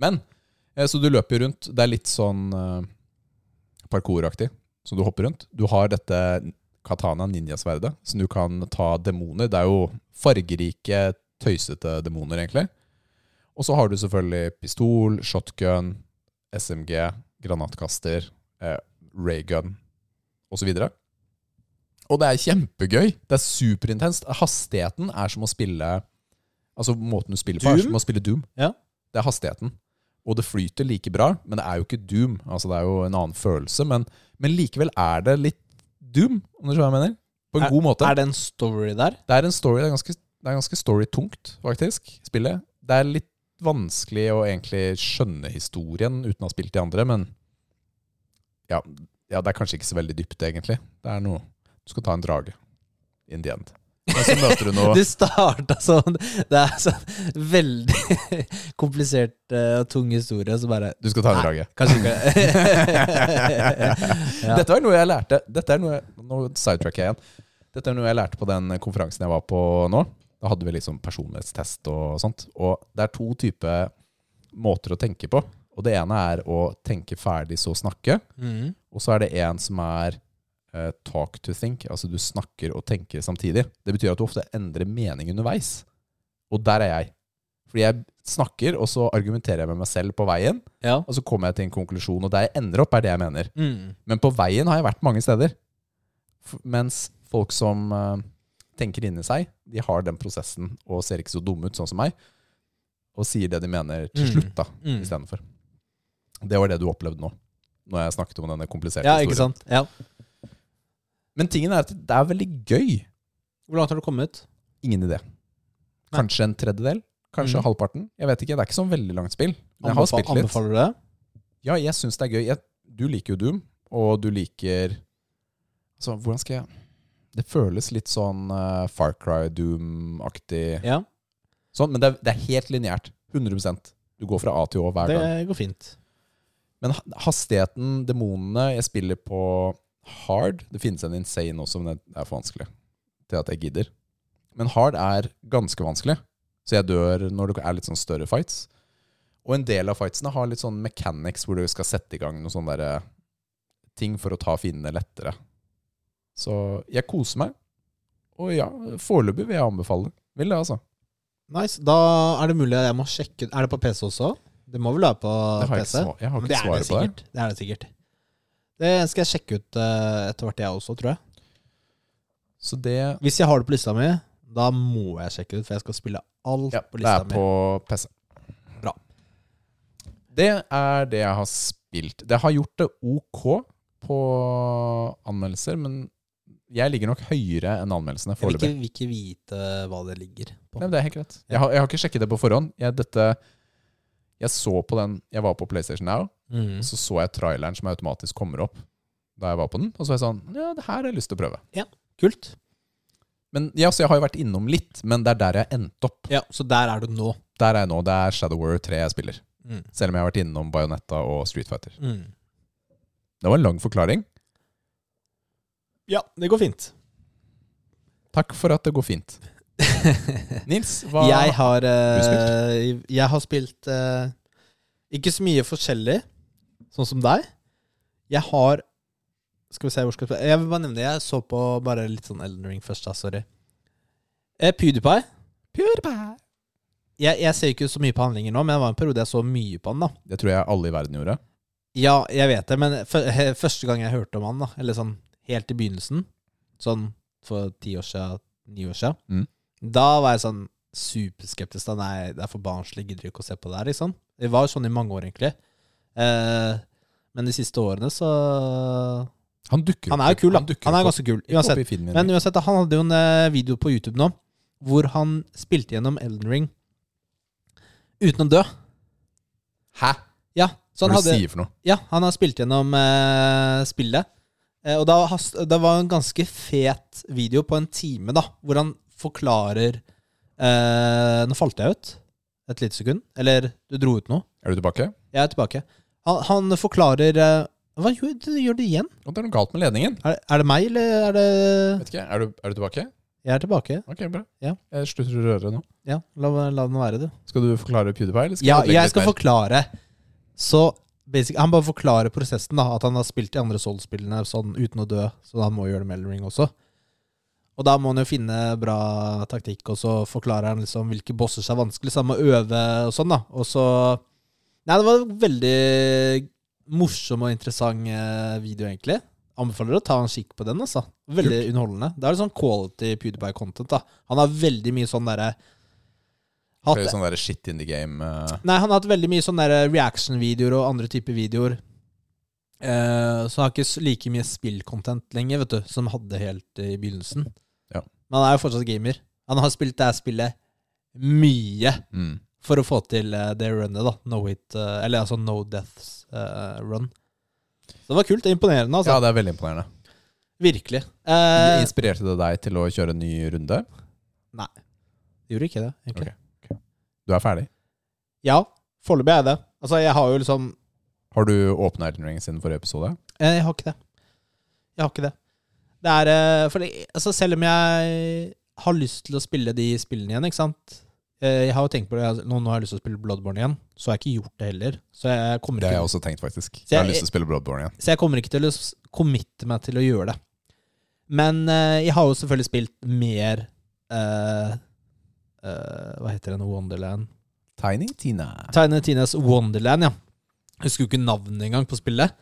B: Men eh, Så du løper jo rundt. Det er litt sånn eh, parkouraktig, så du hopper rundt. Du har dette katana, ninjasverdet, som du kan ta demoner. Det er jo fargerike, tøysete demoner, egentlig. Og så har du selvfølgelig pistol, shotgun, SMG, granatkaster, eh, raygun osv. Og det er kjempegøy. Det er superintenst. Hastigheten er som å spille Altså måten du spiller på, er
A: Doom?
B: som å spille Doom.
A: Ja.
B: Det er hastigheten. Og det flyter like bra, men det er jo ikke Doom. Altså Det er jo en annen følelse, men, men likevel er det litt Doom, om du skjønner hva jeg mener. På en god måte.
A: Er det en story der?
B: Det er en story, det er ganske, det er ganske storytungt, faktisk, spillet. Det er litt vanskelig å egentlig skjønne historien uten å ha spilt de andre, men ja, ja, det er kanskje ikke så veldig dypt, egentlig. Det er noe Du skal ta en drage. In the end. Men så møter du noe
A: Det starta sånn Det er sånn veldig [LAUGHS] komplisert eh, og tung historie, og så bare
B: [LAUGHS] Du skal ta en drage.
A: Kanskje [LAUGHS]
B: [LAUGHS]
A: ikke Ja.
B: Dette var noe jeg lærte Dette er noe jeg, Nå sidetracker jeg igjen. Dette er noe jeg lærte på den konferansen jeg var på nå. Da hadde vi liksom personlighetstest og sånt. Og det er to typer måter å tenke på. Og det ene er å tenke ferdig, så snakke.
A: Mhm.
B: Og så er det en som er eh, talk to think, altså du snakker og tenker samtidig. Det betyr at du ofte endrer mening underveis. Og der er jeg. Fordi jeg snakker, og så argumenterer jeg med meg selv på veien.
A: Ja.
B: Og så kommer jeg til en konklusjon, og der jeg ender opp, er det jeg mener.
A: Mhm.
B: Men på veien har jeg vært mange steder. F mens folk som eh, tenker inni seg, de har den prosessen og ser ikke så dumme ut, sånn som meg, og sier det de mener til
A: Mm.
B: slutt, da,
A: Mm.
B: istedenfor. Det var det du opplevde nå, når jeg snakket om denne kompliserte
A: ja, ikke
B: historien.
A: sant? Ja.
B: Men tingen er at det er veldig gøy.
A: Hvor langt har du kommet?
B: Ingen idé.
A: Nei.
B: Kanskje en tredjedel? Kanskje
A: Mm.
B: halvparten? Jeg vet ikke, det er ikke sånn veldig langt spill. Men jeg har
A: Anbefa
B: spilt litt.
A: anbefaler du det?
B: Ja, jeg syns det er gøy. Jeg, du liker jo Doom, og du liker Altså, hvordan skal jeg Det føles litt sånn eh, Far Cry Doom-aktig
A: Ja.
B: sånn, men det er, det er helt lineært. 100 Du går fra A til Å hver
A: Det
B: gang.
A: går fint.
B: Men ha- hastigheten, demonene Jeg spiller på hard. Det finnes en insane også, men det er for vanskelig til at jeg gidder. Men hard er ganske vanskelig, så jeg dør når det er litt sånn større fights. Og en del av fightsene har litt sånn mechanics hvor du skal sette i gang noen sånne der eh, ting for å ta fiendene lettere. Så jeg koser meg. Og ja, foreløpig vil jeg anbefale det. Vil det, altså.
A: Nice. Da er det mulig at jeg må sjekke Er det på PC også? Det må vel være på
B: Det har jeg, ikke
A: PC?
B: svar, jeg har
A: Men
B: ikke
A: det er det
B: svaret på det.
A: sikkert. Det er det sikkert. Det skal jeg sjekke ut eh, etter hvert, jeg også, tror jeg.
B: Så det
A: Hvis jeg har det på lista mi, da må jeg sjekke det ut, for jeg skal spille alt
B: Ja,
A: på
B: det
A: lista
B: er
A: mi.
B: på PC.
A: Bra.
B: Det er det jeg har spilt. Det har gjort det ok på anmeldelser, men jeg ligger nok høyere enn anmeldelsene
A: Jeg vil ikke,
B: foreløpig.
A: vil ikke vite hva det ligger på.
B: Nei, men Det er helt greit. Jeg har, jeg har ikke sjekket det på forhånd. Jeg, dette, jeg så på den Jeg var på PlayStation Now,
A: Mm.
B: og så så jeg traileren som automatisk kommer opp da jeg var på den, og så var jeg sånn Ja, det her har jeg lyst til å prøve.
A: Kult.
B: Men ja, så jeg har jo vært innom litt, men det er der jeg endte opp.
A: Ja, Så der er du nå.
B: Der er jeg nå. Det er Shadow Warrior 3 jeg spiller.
A: Mm.
B: Selv om jeg har vært innom Bayonetta og Street Fighter.
A: Mm.
B: Det var en lang forklaring.
A: Ja, det går fint.
B: Takk for at det går
A: [LAUGHS]
B: fint. Nils, hva
A: Jeg har, eh,
B: du
A: jeg har spilt eh, ikke så mye forskjellig, sånn som deg. Jeg har Skal vi se hvor skal jeg spille Jeg vil bare nevne det. Jeg så på bare litt sånn Elden Ring først, da. Sorry. Eh, PewDiePie. Jeg, jeg ser ikke så mye på handlinger nå, men det var en periode jeg så mye på han. da
B: Det tror jeg alle i verden gjorde.
A: Ja, jeg vet det, men f første gang jeg hørte om han, da eller sånn helt i begynnelsen, sånn for ti år siden, ni år siden,
B: Mm.
A: da var jeg sånn superskeptisk. da Nei, det er for barnslig, gidder ikke å se på det her, liksom. Det var jo sånn i mange år, egentlig. Eh, men de siste årene, så
B: Han dukker
A: Han er jo kul, da.
B: dukker
A: Han er
B: opp
A: ganske kul,
B: opp
A: uansett.
B: i filmen
A: Men
B: min.
A: uansett, da, han hadde jo en eh, video på YouTube nå hvor han spilte gjennom Elden Ring uten å dø.
B: Hæ?
A: Ja, så
B: Hva
A: han Sånn
B: er det
A: hadde
B: du sier for noe?
A: Ja, han har spilt gjennom eh, spillet. Eh, og da, has- det var en ganske fet video på en time, da, hvor han forklarer eh, Nå falt jeg ut et lite sekund. Eller du dro ut noe.
B: Er du tilbake?
A: Jeg er tilbake. Han, han forklarer eh, Hva gjør du, gjør du igjen?
B: Å, det er noe galt med ledningen.
A: Er, er det meg, eller er det
B: Vet ikke, er du, er du tilbake?
A: Jeg er tilbake.
B: Ok, bra.
A: Ja.
B: Jeg slutter å røre nå.
A: Ja, la, la den være, du.
B: Skal du forklare PewDiePie? Eller
A: Ja,
B: vi legge
A: jeg
B: litt
A: skal
B: mer?
A: forklare. Så basic, Han bare forklarer prosessen, da. At han har spilt de andre Soul-spillene sånn uten å dø. Så han må gjøre det med Elden Ring også. Og da må han jo finne bra taktikk, og så forklarer han liksom hvilke bosser som er vanskelig, så han må øve og sånn, da. Og så Nei, det var en veldig morsom og interessant eh, video, egentlig. Anbefaler å ta en kikk på den, altså. Veldig underholdende. Det er litt sånn quality PewDiePie-content, da. Han har veldig mye sånn derre
B: Det er jo Sånn der shit in the game. eh.
A: Nei, han har hatt veldig mye sånne der reaction-videoer og andre typer videoer. Eh, så han har ikke s- like mye spill-content lenger, vet du, som han hadde helt eh, i begynnelsen.
B: Ja.
A: Men han er jo fortsatt gamer. Han har spilt det her spillet mye
B: Mm.
A: for å få til eh, det runnet, da. No hit, eh, eller altså no deaths eh, run. Så det var kult. Det er imponerende, altså.
B: Ja, det er veldig imponerende.
A: Virkelig. Eh,
B: Inspirerte det deg til å kjøre en ny runde?
A: gjorde ikke det, egentlig.
B: Ok. Du er ferdig.
A: Ja, foreløpig er jeg det. Altså, jeg har jo liksom
B: Har du åpna Elden Ring siden forrige episode?
A: Eh, Jeg har ikke det. Jeg har ikke det. Det er eh, For det- altså, selv om jeg har lyst til å spille de spillene igjen, ikke sant Eh, Jeg har jo tenkt på det jeg, nå, nå har jeg lyst til å spille Bloodborne igjen, så har jeg ikke gjort det heller. Så jeg kommer
B: Det har
A: ikke,
B: jeg også tenkt, faktisk.
A: Så
B: Jeg
A: jeg-
B: har lyst til å spille Bloodborne igjen.
A: så jeg kommer ikke til å s- committe meg til å gjøre det. Men eh, jeg har jo selvfølgelig spilt mer eh, eh, Hva heter den Wonderland?
B: Tiny Tina.
A: Tiny Tines Wonderland, ja. Jeg husker jo ikke navnet engang på spillet.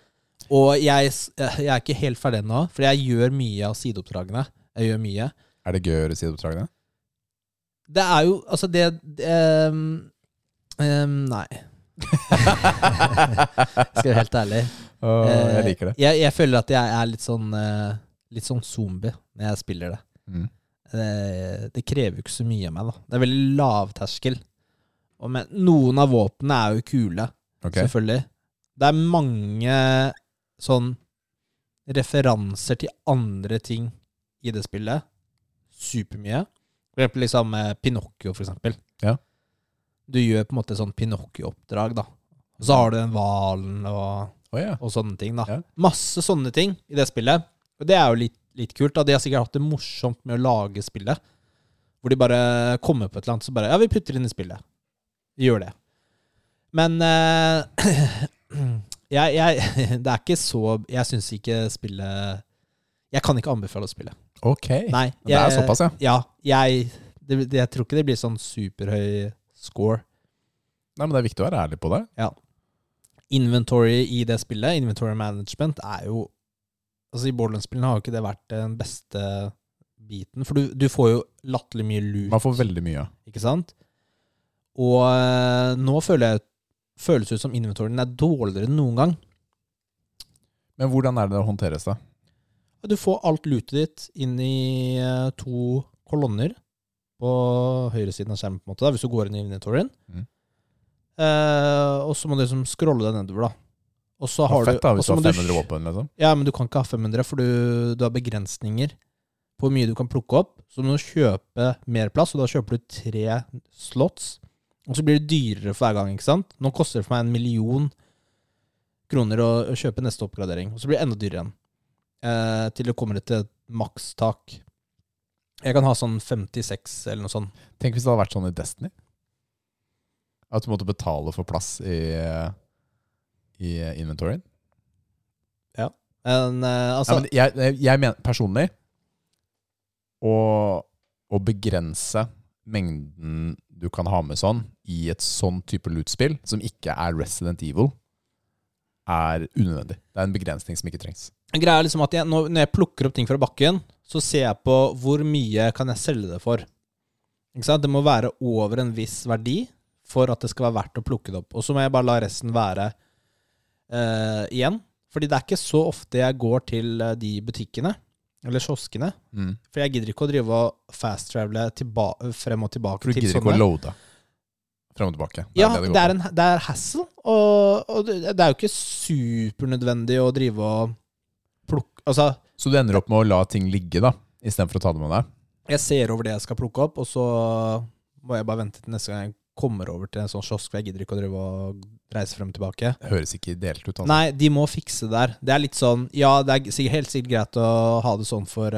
A: Og jeg, jeg er ikke helt ferdig ennå, for jeg gjør mye av sideoppdragene. Jeg gjør mye.
B: Er det gøy å gjøre [LAUGHS] sideoppdragene?
A: Det er jo Altså, det, det ehm, ehm, Nei, skal jeg være helt ærlig.
B: [LAUGHS] Åh,
A: Eh,
B: jeg liker det.
A: Jeg, jeg føler at jeg er litt sånn eh, Litt sånn zombie når jeg spiller det.
B: Mm.
A: Eh, Det krever jo ikke så mye av meg, da. Det er veldig lavterskel. Og men noen av våpnene er jo kule.
B: Ok.
A: selvfølgelig. Det er mange sånn referanser til andre ting i det spillet. Supermye. For eksempel liksom eh, Pinocchio, for eksempel.
B: Ja.
A: Du gjør på en måte sånn Pinocchio-oppdrag, da. Og så har du den hvalen og,
B: Å ja.
A: og sånne ting, da.
B: Ja.
A: Masse sånne ting i det spillet. Og det er jo litt, litt kult. da. De har sikkert hatt det morsomt med å lage spillet. Hvor de bare kommer på et eller annet, så bare Ja, vi putter inn i spillet. Vi gjør det. Men eh, [CLEARS THROAT] jeg, jeg, [LAUGHS] det er ikke så Jeg syns ikke spillet Jeg kan ikke anbefale å spille.
B: Ok.
A: Nei.
B: Men det er
A: jeg-
B: såpass, ja.
A: Ja. Jeg, det, det, jeg tror ikke det blir sånn superhøy score.
B: Nei, men det er viktig å være ærlig på det.
A: Inventory i det spillet, inventory management, er jo Altså I Borderlands-spillene har jo ikke det vært den beste biten. For du, du får jo latterlig mye loot.
B: Man får veldig mye.
A: Ikke sant? Og eh, nå føler jeg føles det ut som inventoryen er dårligere enn noen gang.
B: Men hvordan er det det håndteres, da?
A: Du får alt lootet ditt inn i eh, to kolonner på høyresiden av skjermen, på en måte, da, hvis du går inn i inventoryen.
B: Mhm.
A: Eh, og så må du liksom scrolle deg nedover, da. Og så har
B: Fett,
A: du,
B: da,
A: og
B: hvis
A: så
B: du
A: må
B: har 500
A: du
B: våpen, liksom.
A: Ja, men du kan ikke ha 500, for du, du har begrensninger på hvor mye du kan plukke opp. Så må du kjøpe mer plass, og da kjøper du tre slots. Og så blir det dyrere for hver gang. ikke sant? Nå koster det for meg en million kroner å å kjøpe neste oppgradering. Og så blir det enda dyrere igjen. Eh, til det kommer til et makstak. Jeg kan ha sånn 56 eller noe sånt.
B: Tenk hvis det hadde vært sånn i Destiny. At du måtte betale for plass i, eh, i inventoryen.
A: Men, eh, altså,
B: Nei, men jeg, jeg- jeg mener personlig å, å begrense mengden du kan ha med sånn i et sånn type loot-spill, som ikke er Resident Evil, er unødvendig. Det er en begrensning som ikke trengs.
A: Greia er liksom at jeg, når, når jeg plukker opp ting fra bakken, så ser jeg på hvor mye kan jeg selge det for. Ikke sant? Det må være over en viss verdi for at det skal være verdt å plukke det opp. Og så må jeg bare la resten være eh, igjen. Fordi det er ikke så ofte jeg går til eh, de butikkene, eller kioskene. For jeg gidder ikke å drive og fast-travele tilba- frem og tilbake
B: For du
A: til
B: gidder ikke å
A: sånne.
B: loade frem og tilbake. Det er
A: Ja,
B: det det går
A: det er,
B: på.
A: en, det er hassle, og, og det det er jo ikke supernødvendig å drive og plukke Altså,
B: Så du ender opp med å la ting ligge, da, istedenfor å ta det med deg.
A: Jeg ser over det jeg skal plukke opp, og så må jeg bare vente til neste gang jeg kommer over til en sånn kiosk, for jeg gidder ikke å drive og reise frem og tilbake.
B: Det høres ikke ideelt ut. Altså.
A: Nei, de må fikse det der. Det er litt sånn Ja, det er sikkert, helt sikkert greit å ha det sånn for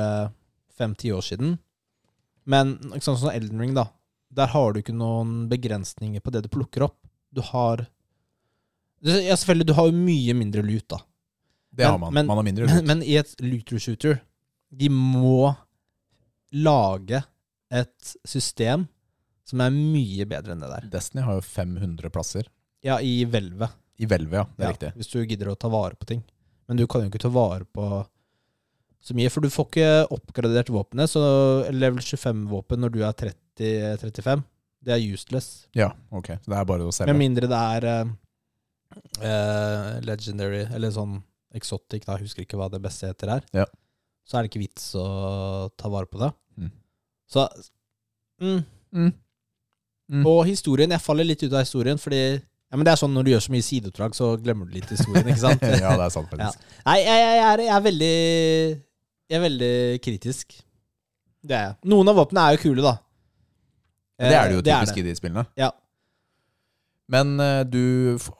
A: fem-ti år siden, men ikke sant, sånn som Elden Ring, da. Der har du ikke noen begrensninger på det du plukker opp. Du har Du- Ja, selvfølgelig, du har jo mye mindre lut, da.
B: Det har
A: Men-
B: man.
A: men-
B: man har mindre
A: Men,
B: loot.
A: men i et looter shooter De må lage et system som er mye bedre enn det der.
B: Destiny har jo 500 plasser.
A: Ja, i hvelvet.
B: I hvelvet, ja. Det er
A: Ja,
B: riktig.
A: Hvis du gidder å ta vare på ting. Men du kan jo ikke ta vare på så mye, for du får ikke oppgradert våpenet. Så level 25-våpen når du er 30-35, det er useless.
B: Ja, ok. Så det er bare å selge.
A: Med mindre det er eh, eh, legendary, eller sånn exotic, da, jeg husker ikke hva det beste heter er,
B: Ja.
A: så er det ikke vits å ta vare på det.
B: Mm.
A: Så mm.
B: Mm. Mm.
A: Og historien, jeg faller litt ut av historien, fordi ja, men det er sånn når du gjør så mye sideoppdrag, så glemmer du litt historien, ikke sant?
B: [LAUGHS] ja, det er sant, faktisk.
A: Nei, jeg, jeg, er, jeg er veldig Jeg er veldig kritisk. Det er jeg. Noen av våpnene er jo kule, da.
B: Men Det er det jo
A: Eh,
B: typisk i de spillene.
A: Ja.
B: Men eh, du f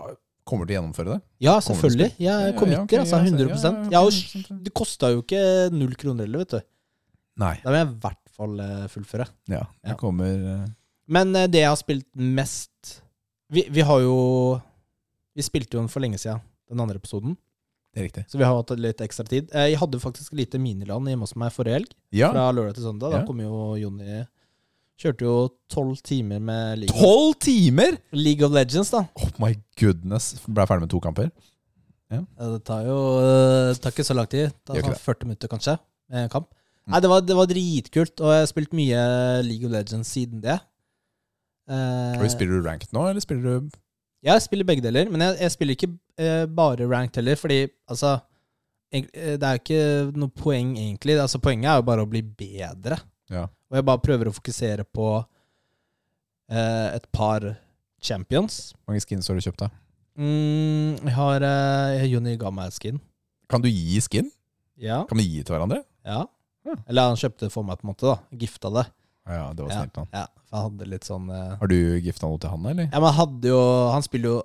B: kommer til å gjennomføre det?
A: Ja,
B: til
A: selvfølgelig.
B: Ja,
A: Jeg
B: ja,
A: kommer
B: ja,
A: ikke,
B: ok,
A: altså.
B: ja, så-
A: 100
B: ja, ja,
A: Jeg har jo
B: ok, skjønte
A: det kosta jo ikke null kroner heller, vet du.
B: Nei.
A: Da vil jeg i hvert fall eh, fullføre.
B: Ja, det
A: Ja.
B: kommer eh,
A: Men eh, det jeg har spilt mest vi, vi har jo Vi spilte jo den for lenge siden, den andre episoden.
B: Det er riktig.
A: Så vi har hatt litt ekstra tid. Eh, Jeg hadde faktisk et lite miniland hjemme hos meg forrige helg.
B: Ja.
A: Fra lørdag til søndag. Da
B: Ja.
A: kom jo Jonny Kjørte jo tolv timer med League,
B: Tolv timer?!
A: League of Legends, da.
B: Oh my goodness. Ble jeg ferdig med to kamper?
A: Ja, Det tar jo eh, det tar ikke så lang tid. Det tar
B: Gjør ikke Mm.
A: sånn 40 minutter, kanskje, med en kamp. Nei, det var, det var dritkult, og jeg har spilt mye League of Legends siden det. Eh,
B: Og Spiller du ranked nå, eller spiller du
A: jeg spiller begge deler, men jeg, jeg spiller ikke eh, bare ranked heller, fordi altså egent- eh, Det er jo ikke noe poeng, egentlig. Altså, poenget er jo bare å bli bedre.
B: Ja.
A: Og jeg bare prøver å fokusere på eh, et par champions.
B: Mange skins har du kjøpt, da?
A: Mm, jeg har uh, Juni ga meg et skin.
B: Kan du gi skin?
A: Ja.
B: Kan vi gi til hverandre?
A: Ja.
B: Ja.
A: Eller han kjøpte det for meg, på en måte. da Gifta det.
B: Ja, det var snilt av han.
A: Ja, for jeg hadde litt sånn eh,
B: Har du gifta noe til han, eller?
A: Ja, men jeg hadde jo Han spiller jo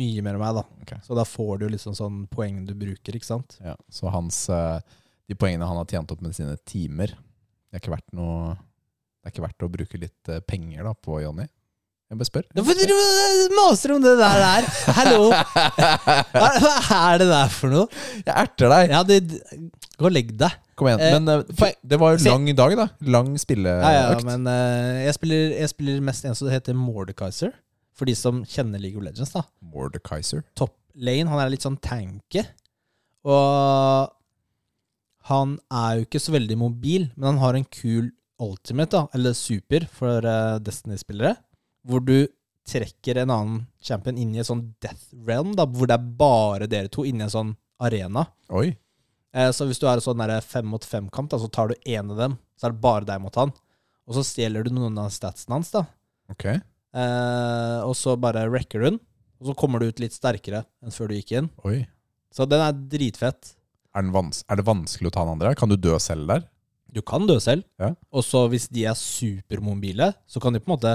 A: mye mer enn meg, da.
B: Ok.
A: Så da får du jo liksom sånn poeng du bruker, ikke sant?
B: Ja. Så hans eh, De poengene han har tjent opp med sine timer, det er ikke verdt noe Det er ikke verdt å bruke litt eh, penger da på Jonny? Jeg bare spør.
A: Hvorfor driver du og maser om det der? der?
B: [LAUGHS]
A: Hallo! Hva hva er det der for noe?
B: Jeg erter deg!
A: Ja, det, gå og legg deg.
B: Kom igjen.
A: Eh,
B: Men eh,
A: for-
B: fy- det var jo
A: se-
B: lang dag, da. Lang spilleøkt.
A: Ja, ja, men eh, jeg, spiller, jeg spiller mest en som heter Mordekaiser. For de som kjenner League of Legends, da.
B: Mordekaiser.
A: top lane. Han er litt sånn tanky. Og han er jo ikke så veldig mobil, men han har en kul ultimate, da, eller super, for eh, Destiny-spillere, hvor du trekker en annen champion inn i en sånn death realm, da, hvor det er bare dere to inni en sånn arena.
B: Oi.
A: Eh, så hvis du er i sånn der fem mot fem-kamp, da, så tar du én av dem, så er det bare deg mot han. Og så stjeler du noen av statsene hans, da.
B: Ok.
A: Eh, og så bare wrecker hun, og så kommer du ut litt sterkere enn før du gikk inn.
B: Oi.
A: Så den er dritfett.
B: Er, den vans er det vanskelig å ta den andre? Kan du dø selv der?
A: Du kan dø selv.
B: Ja.
A: Og så hvis de er supermobile, så kan de på en måte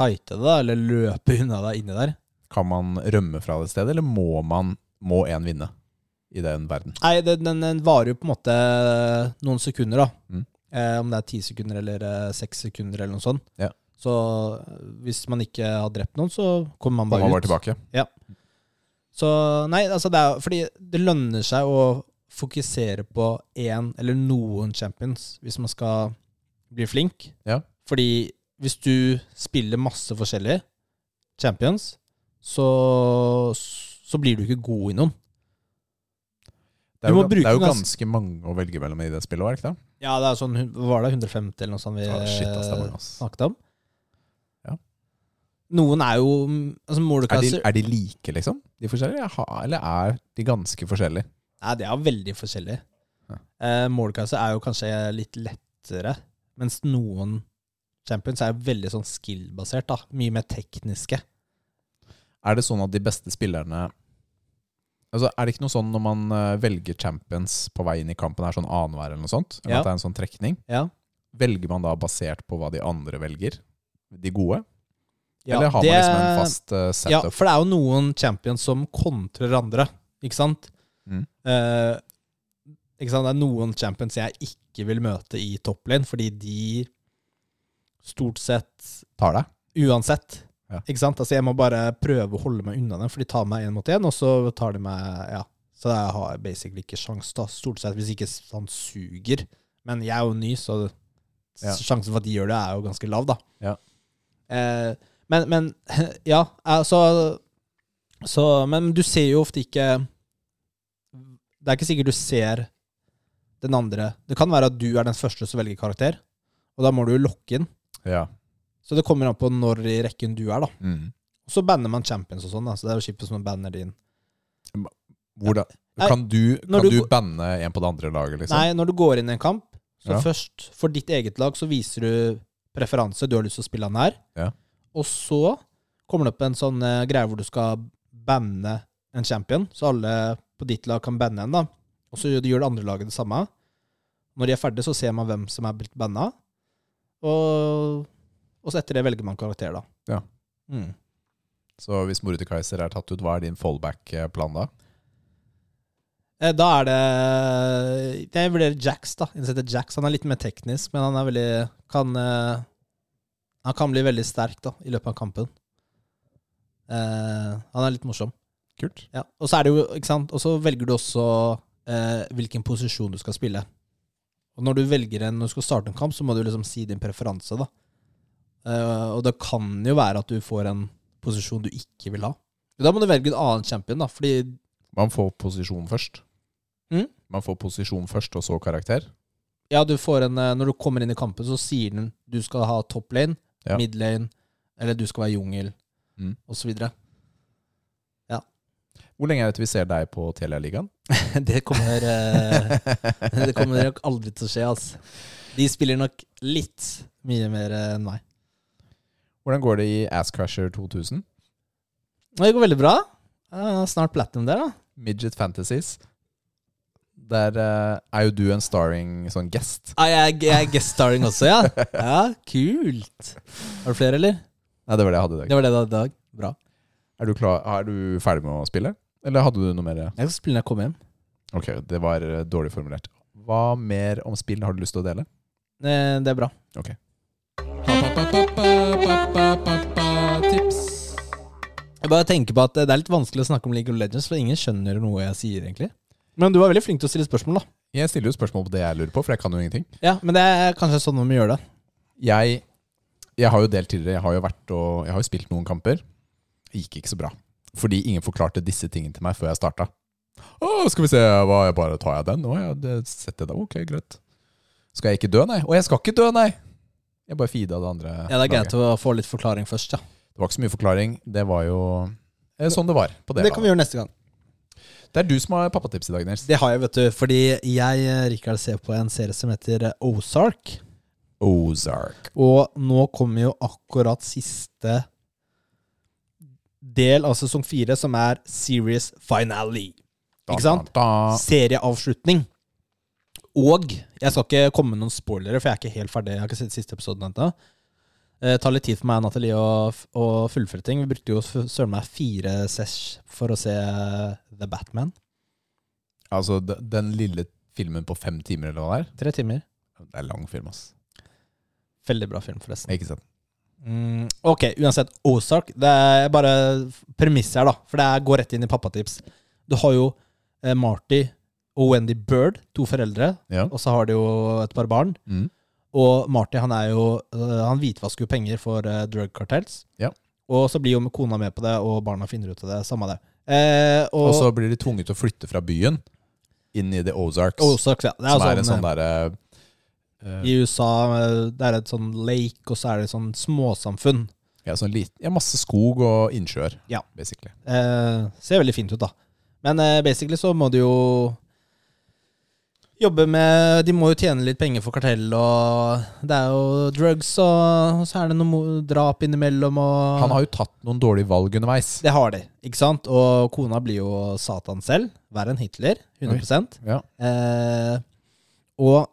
A: kite deg, da, eller løpe [LAUGHS] unna deg inni der.
B: Kan man rømme fra det stedet, eller må man Må én vinne i den verden?
A: Nei, det, den, den varer jo på en måte noen sekunder, da.
B: Mm.
A: Eh, om det er ti sekunder eller eh, seks sekunder eller noe sånt.
B: Ja.
A: Så eh, hvis man ikke har drept noen, så kommer man
B: Man
A: bare
B: var
A: ut.
B: tilbake.
A: Så nei, altså det er fordi det lønner seg å fokusere på én eller noen champions hvis man skal bli flink.
B: Ja.
A: Fordi hvis du spiller masse forskjellige champions, så, så blir du ikke god i noen.
B: Det er,
A: Du
B: jo,
A: må
B: det er
A: bruke
B: jo
A: den, ass.
B: ganske mange å velge mellom i det spillet òg, er det ikke det?
A: Ja, det er sånn, hun- var det 150 eller noe sånt vi
B: Ah, shit, ass, det er mange,
A: eh,
B: ass.
A: snakket om?
B: Ja.
A: Noen er jo mm, altså
B: Er de,
A: Mordekaiser
B: er de like, liksom? De forskjellige? Ha- Eller er de ganske forskjellige?
A: Nei, det er veldig forskjellig.
B: Ja.
A: Eh, Målkasse er jo kanskje litt lettere, mens noen champions er veldig sånn skill-basert. da. Mye mer tekniske.
B: Er det sånn at de beste spillerne Altså, Er det ikke noe sånn når man eh, velger champions på vei inn i kampen, er sånn annenhver eller noe sånt? Eller
A: Ja.
B: at det er en sånn trekning?
A: Ja.
B: Velger man da basert på hva de andre velger? De gode?
A: Ja,
B: eller har
A: det-
B: man liksom en fast eh,
A: Ja,
B: setup?
A: for det er jo noen champions som kontrer andre, ikke sant?
B: Mm.
A: Eh, ikke sant? Det er noen champions jeg ikke vil møte i top lane, fordi de stort sett
B: Tar deg?
A: Uansett.
B: Ja.
A: Ikke sant? Altså, jeg må bare prøve å holde meg unna dem, for de tar meg én mot én, og så tar de meg Ja. Så jeg har basically ikke sjans, da. Stort sett, hvis ikke han suger. Men jeg er jo ny, så s-
B: Ja.
A: sjansen for at de gjør det, er jo ganske lav, da.
B: Ja.
A: Eh, men, men [LAUGHS] Ja, altså så, Men du ser jo ofte ikke Det er ikke sikkert du ser den andre. Det kan være at du er den første som velger karakter, og da må du jo lokke inn.
B: Ja.
A: Så det kommer an på når i rekken du er, da.
B: Mm.
A: Så banner man champions og sånn, da. Så det er jo kjipt hvis man banner din.
B: Hvordan,
A: Nei,
B: kan du,
A: når
B: kan du,
A: du-
B: banne en på det andre laget, liksom?
A: Nei, når du går inn i en kamp, så
B: Ja.
A: først For ditt eget lag så viser du preferanse. Du har lyst til å spille han her.
B: Ja.
A: Og så kommer det opp en sånn eh, greie hvor du skal banne en champion, så alle på ditt lag kan banne en, da. Og så gjør gjør det andre laget det samme. Når de er ferdige, så ser man hvem som er blitt banna. Og, og så etter det velger man karakter, da.
B: Ja.
A: Mm.
B: Så hvis Mordekaiser er tatt ut, hva er din fallback-plan da?
A: Eh, Da er det Jeg vurderer Jax, da. Innsetter Jax. Han er litt mer teknisk, men han er veldig kan, eh, Han kan bli veldig sterk da i løpet av kampen. Eh, han er litt morsom.
B: Kult.
A: Ja. Og så er det jo, ikke sant? Og så velger du også eh, hvilken posisjon du skal spille. Og når du velger en, når du skal starte en kamp, så må du liksom si din preferanse. da. Eh, og det kan jo være at du får en posisjon du ikke vil ha. Da må du velge en annen champion, da, fordi
B: Man får posisjon først.
A: Mm.
B: Man får posisjon først, og så karakter.
A: Ja, du får en eh, Når du kommer inn i kampen, så sier den du skal ha top lane,
B: Ja.
A: mid lane, eller du skal være jungel,
B: Mm.
A: og osv. videre [LAUGHS]
B: Hvor lenge er det til vi ser deg på Telia-ligaen?
A: det kommer eh, [LAUGHS] Det kommer nok aldri til å skje, altså. De spiller nok litt mye mer eh, enn meg.
B: Hvordan går det i Asscrasher 2000?
A: Men Det går veldig bra. Eh, snart platinum der, da.
B: Midget Fantasies. Der eh, er jo du en starring sånn guest.
A: Ah, jeg, er- jeg er guest starring også, ja. [LAUGHS] ja. Kult. Har du flere, eller?
B: Nei, det var det jeg hadde i dag.
A: Det var det du hadde i dag. Bra.
B: Er du, klar, er du ferdig med å spille? Eller hadde du noe mer?
A: Jeg skal spille når jeg kommer hjem.
B: Ok, det var eh, dårlig formulert. Hva mer om spill har du lyst til å dele?
A: Eh, det er bra.
B: Ok.
A: Tips. Jeg bare tenker på at det er litt vanskelig å snakke om League of Legends, for ingen skjønner noe jeg sier, egentlig. Men du var veldig flink til å stille spørsmål, da.
B: Jeg stiller jo spørsmål på det jeg lurer på, for jeg kan jo ingenting.
A: Ja, Men det er kanskje sånn man må gjøre det.
B: jeg, jeg har jo delt tidligere. Jeg har jo, vært og, jeg har jo spilt noen kamper. Det gikk ikke så bra. Fordi ingen forklarte disse tingene til meg før jeg starta. Å, skal vi se, hva, jeg bare tar jeg den? Å, ja, det setter jeg da. Ok, greit. Skal jeg ikke dø, nei? Å, jeg skal ikke dø, nei! Jeg bare feeda det andre.
A: Ja, Det er
B: laget.
A: greit å få litt forklaring først, ja.
B: Det var ikke så mye forklaring. Det var jo eh, sånn det var. på Det,
A: Det kan vi gjøre neste gang.
B: det er du som har pappatips i dag, Nils.
A: Det har jeg, vet du. Fordi jeg, eh, Rikard, ser på en serie som heter eh, Ozark.
B: Ozark.
A: Og nå kommer jo akkurat siste del av sesong fire, som er series finale. Ikke sant?
B: Da, da.
A: serieavslutning. Og jeg skal ikke komme med noen spoilere, for jeg er ikke helt ferdig. Jeg har ikke sett siste episoden ennå. Det tar litt tid for meg og Nathalie å, f- å fullføre ting. Vi brukte jo f- søren meg fire sesh for å se The Batman.
B: Altså, de- den lille filmen på fem timer eller hva det er,
A: Tre timer.
B: det er lang film, ass.
A: Veldig bra film, forresten.
B: Ikke sant?
A: Mm, ok, uansett. Ozark. Det er bare premisset her, da. For det er- går rett inn i pappatips. Du har jo eh, Marty og Wendy Bird, to foreldre.
B: Ja.
A: Og så har de jo et par barn.
B: Mm.
A: Og Marty han er jo øh, Han hvitvasker jo penger for øh, drug cartels.
B: Ja.
A: Og så blir jo kona med på det, og barna finner ut av det. Samme det. Eh, og,
B: Og så blir de tvunget til å flytte fra byen inn i The Ozarks,
A: Ozarks, ja. Det er,
B: som er
A: sånn,
B: en sånn derre
A: eh, I USA eh, det er et sånn lake, og så er det et sånn småsamfunn.
B: ja, sånn liten, ja, masse skog og innsjøer,
A: Ja.
B: basically.
A: Eh, ser veldig fint ut, da. Men eh, basically så må du jo jobbe med De må jo tjene litt penger for kartell, og det er jo drugs, og så er det noe mo- drap innimellom, og
B: Han har jo tatt noen dårlige valg underveis.
A: Ah. Det har de, ikke sant? Og kona blir jo Satan selv. Verre enn Hitler. 100
B: Ja.
A: eh, Og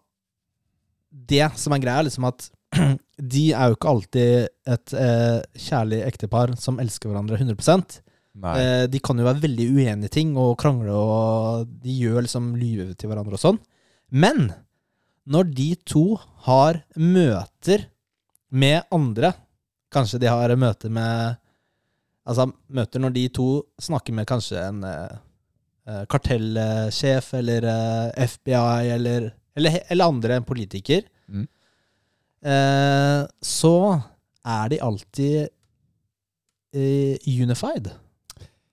A: det som er greia, er liksom at [CLEARS THROAT] de er jo ikke alltid et eh, kjærlig ektepar som elsker hverandre 100
B: Nei.
A: eh, De kan jo være veldig uenige i ting og krangle, og de gjør liksom lyve til hverandre og sånn. Men når de to har møter med andre Kanskje de har møter med Altså møter når de to snakker med kanskje en eh, eh, kartellsjef eller eh, FBI eller, eller, he- eller andre, en politiker,
B: Mm.
A: eh, så er de alltid eh, unified.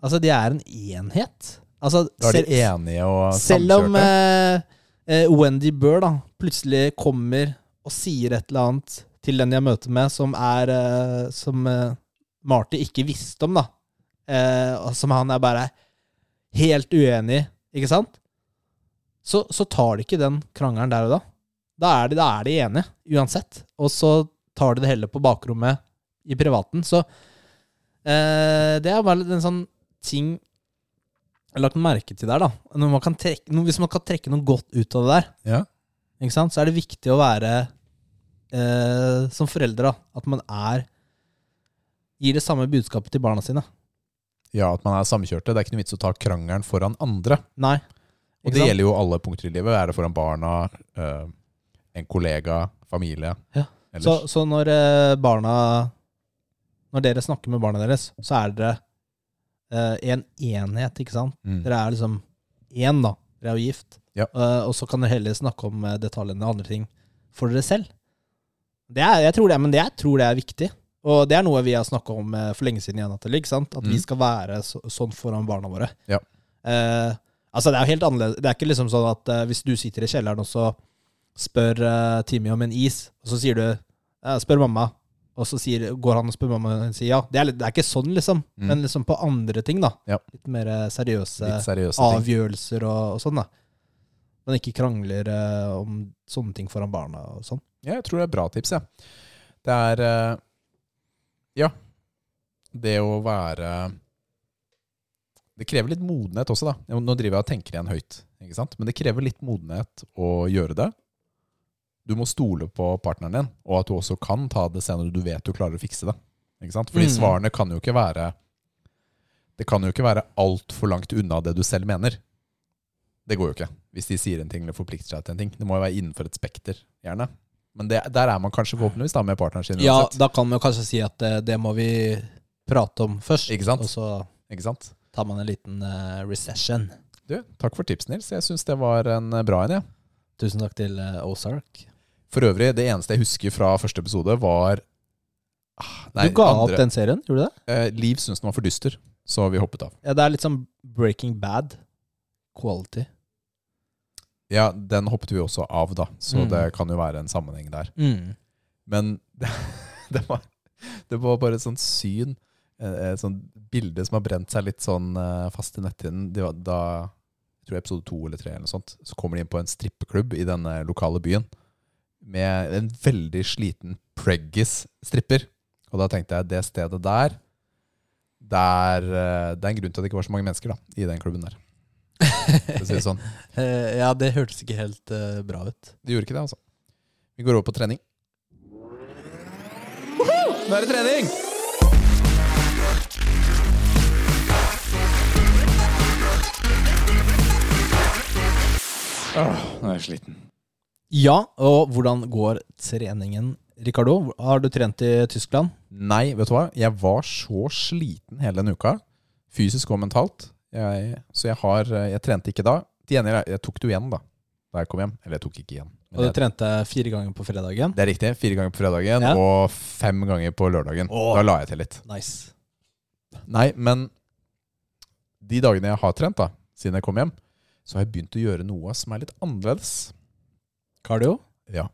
A: Altså, de er en enhet. Altså,
B: Da er
A: selv-
B: de enige og
A: selv om
B: samkjørte.
A: eh, eh, Wendy Burr da plutselig kommer og sier et eller annet til den jeg møter med, som er eh, Som eh, Marty ikke visste om, da. Eh, og som han er bare helt uenig i, ikke sant? Så, så tar de ikke den krangelen der og da. Da er de, da er de enige, uansett. Og så tar de det heller på bakrommet i privaten. Så eh, det er bare en sånn ting jeg har lagt merke til der, da. Når man kan trekke, no- hvis man kan trekke noe godt ut av det der,
B: Ja.
A: ikke sant? så er det viktig å være eh, som foreldre. da, At man er gir det samme budskapet til barna sine.
B: ja, at man er samkjørte. Det er ikke noe vits å ta krangelen foran andre.
A: Nei.
B: Og
A: Ikke
B: det
A: sant?
B: gjelder jo alle punkter i livet. Er det foran barna, eh, en kollega, familie?
A: Ja.
B: Ellers.
A: Så, så når eh, barna Når dere snakker med barna deres, så er dere eh, en enhet, ikke sant?
B: mm.
A: Dere er liksom én, da. Dere er jo gift.
B: Ja.
A: Eh, og så kan dere heller snakke om eh, detaljene og andre ting for dere selv. Det er, jeg tror det, er- men det, jeg tror det er viktig. Og det er noe vi har snakka om eh, for lenge siden igjen, Natalie. Ikke sant? At vi
B: Mm.
A: skal være så, sånn foran barna våre.
B: Ja.
A: Eh, altså, det er jo helt annerledes. Det er ikke liksom sånn at eh, hvis du sitter i kjelleren og så spør eh, Timmy om en is, og så sier du eh, Spør mamma. Og så sier, går han og spør mamma, og hun sier ja. Det er, litt- det er ikke sånn, liksom.
B: Mm.
A: Men liksom på andre ting, da.
B: Ja.
A: Litt mer eh, seriøse
B: Litt
A: eh,
B: seriøse ting.
A: avgjørelser og, og sånn, da. Men ikke krangler eh, om sånne ting foran barna og sånn.
B: Ja, jeg tror det er bra tips, jeg. Det er eh, Ja. Det å være Det krever litt modenhet også, da. Jo, Nå driver jeg og tenker igjen høyt, ikke sant? men det krever litt modenhet å gjøre det. Du må stole på partneren din, og at du også kan ta det senere du vet du klarer å fikse det. Ikke sant? Fordi
A: Mm.
B: svarene kan jo ikke være Det kan jo ikke være altfor langt unna det du selv mener. Det går jo ikke, hvis de sier en ting eller forplikter seg til en ting. Det må jo være innenfor et spekter, gjerne. Men det, der er man kanskje forhåpentligvis da med partneren sin
A: Ja,
B: uansett.
A: da kan vi jo kanskje si at eh, det må vi prate om først.
B: Ikke sant?
A: Og så
B: Ikke sant?
A: tar man en liten eh, recession.
B: Du, takk for tips, Nils. Jeg syns det var en eh, bra en. Ja.
A: Tusen takk til eh, Ozark.
B: For øvrig, det eneste jeg husker fra første episode, var Ah, nei,
A: du ga
B: andre.
A: opp den serien, gjorde du det?
B: Eh, Liv syntes den var for dyster, så vi hoppet av.
A: Ja, det er litt sånn Breaking Bad quality.
B: Ja, den hoppet vi også av, da, så
A: Mm.
B: det kan jo være en sammenheng der.
A: Mm.
B: Men det, det, var, det var bare et sånt syn, eh, et sånt bilde som har brent seg litt sånn eh, fast i netthinnen. Det var da jeg tror episode to eller tre, eller noe sånt, så kommer de inn på en strippeklubb i denne lokale byen med en veldig sliten preggis-stripper. Og da tenkte jeg det stedet der der, eh, [LAUGHS] Det er en grunn til at det ikke var så mange mennesker da, i den klubben der. for å si det sånn.
A: Eh, ja, det hørtes ikke helt eh, bra ut.
B: Det gjorde ikke det, altså. Vi går over på trening. Nå er det trening! Åh, nå er jeg sliten.
A: Ja, og hvordan går treningen, Ricardo? Har du trent i Tyskland?
B: Nei, vet du hva? Jeg var så sliten hele denne uka, fysisk og mentalt. Jeg, så jeg har eh, Jeg trente ikke da. Til gjengjeld, jeg tok det jo igjen da Da jeg kom hjem. Eller jeg tok ikke igjen. Men
A: Og du
B: jeg-
A: trente fire ganger på fredagen?
B: det er riktig. Fire ganger på fredagen
A: Ja.
B: og fem ganger på lørdagen.
A: Åh.
B: Da la jeg til litt.
A: Nice.
B: Nei, men de dagene jeg har trent, da siden jeg kom hjem, så har jeg begynt å gjøre noe som er litt annerledes.
A: Cardio?
B: Ja.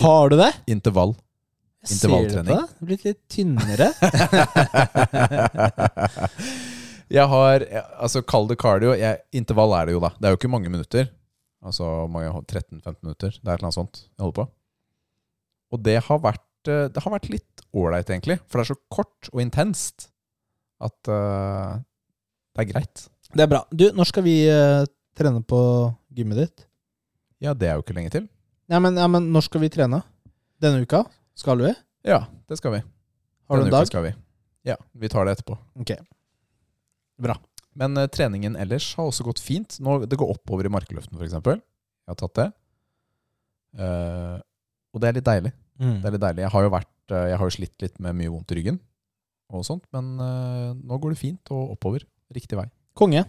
A: Har du det?
B: Intervall. [LAUGHS]
A: Jeg ser det på
B: Intervalltrening.
A: deg. Blitt litt tynnere.
B: jeg har jeg- Altså, kall det cardio. Jeg, intervall er det jo, da. Det er jo ikke mange minutter. Altså mange 13-15 minutter. Det er et eller annet sånt jeg holder på. Og det har vært eh, Det har vært litt ålreit, egentlig. For det er så kort og intenst at eh, det er greit.
A: [LAUGHS] Det er bra. Du, når skal vi eh, trene på gymmet ditt?
B: Ja, det er jo ikke lenge til.
A: Ja men, ja, men når skal vi trene? Denne uka? Skal vi?
B: Ja, det skal vi.
A: Har du
B: Denne
A: en
B: uka
A: dag?
B: Skal vi. Ja, vi tar det etterpå.
A: Ok. Bra.
B: Men eh, treningen ellers har også gått fint. Nå, det går oppover i markløften, f.eks. Jeg har tatt det. Eh, og det er litt deilig.
A: Mm.
B: Det er litt deilig. Jeg har jo vært, eh, jeg har jo slitt litt med mye vondt i ryggen, og sånt, men eh, nå går det fint og oppover. Riktig vei.
A: Konge.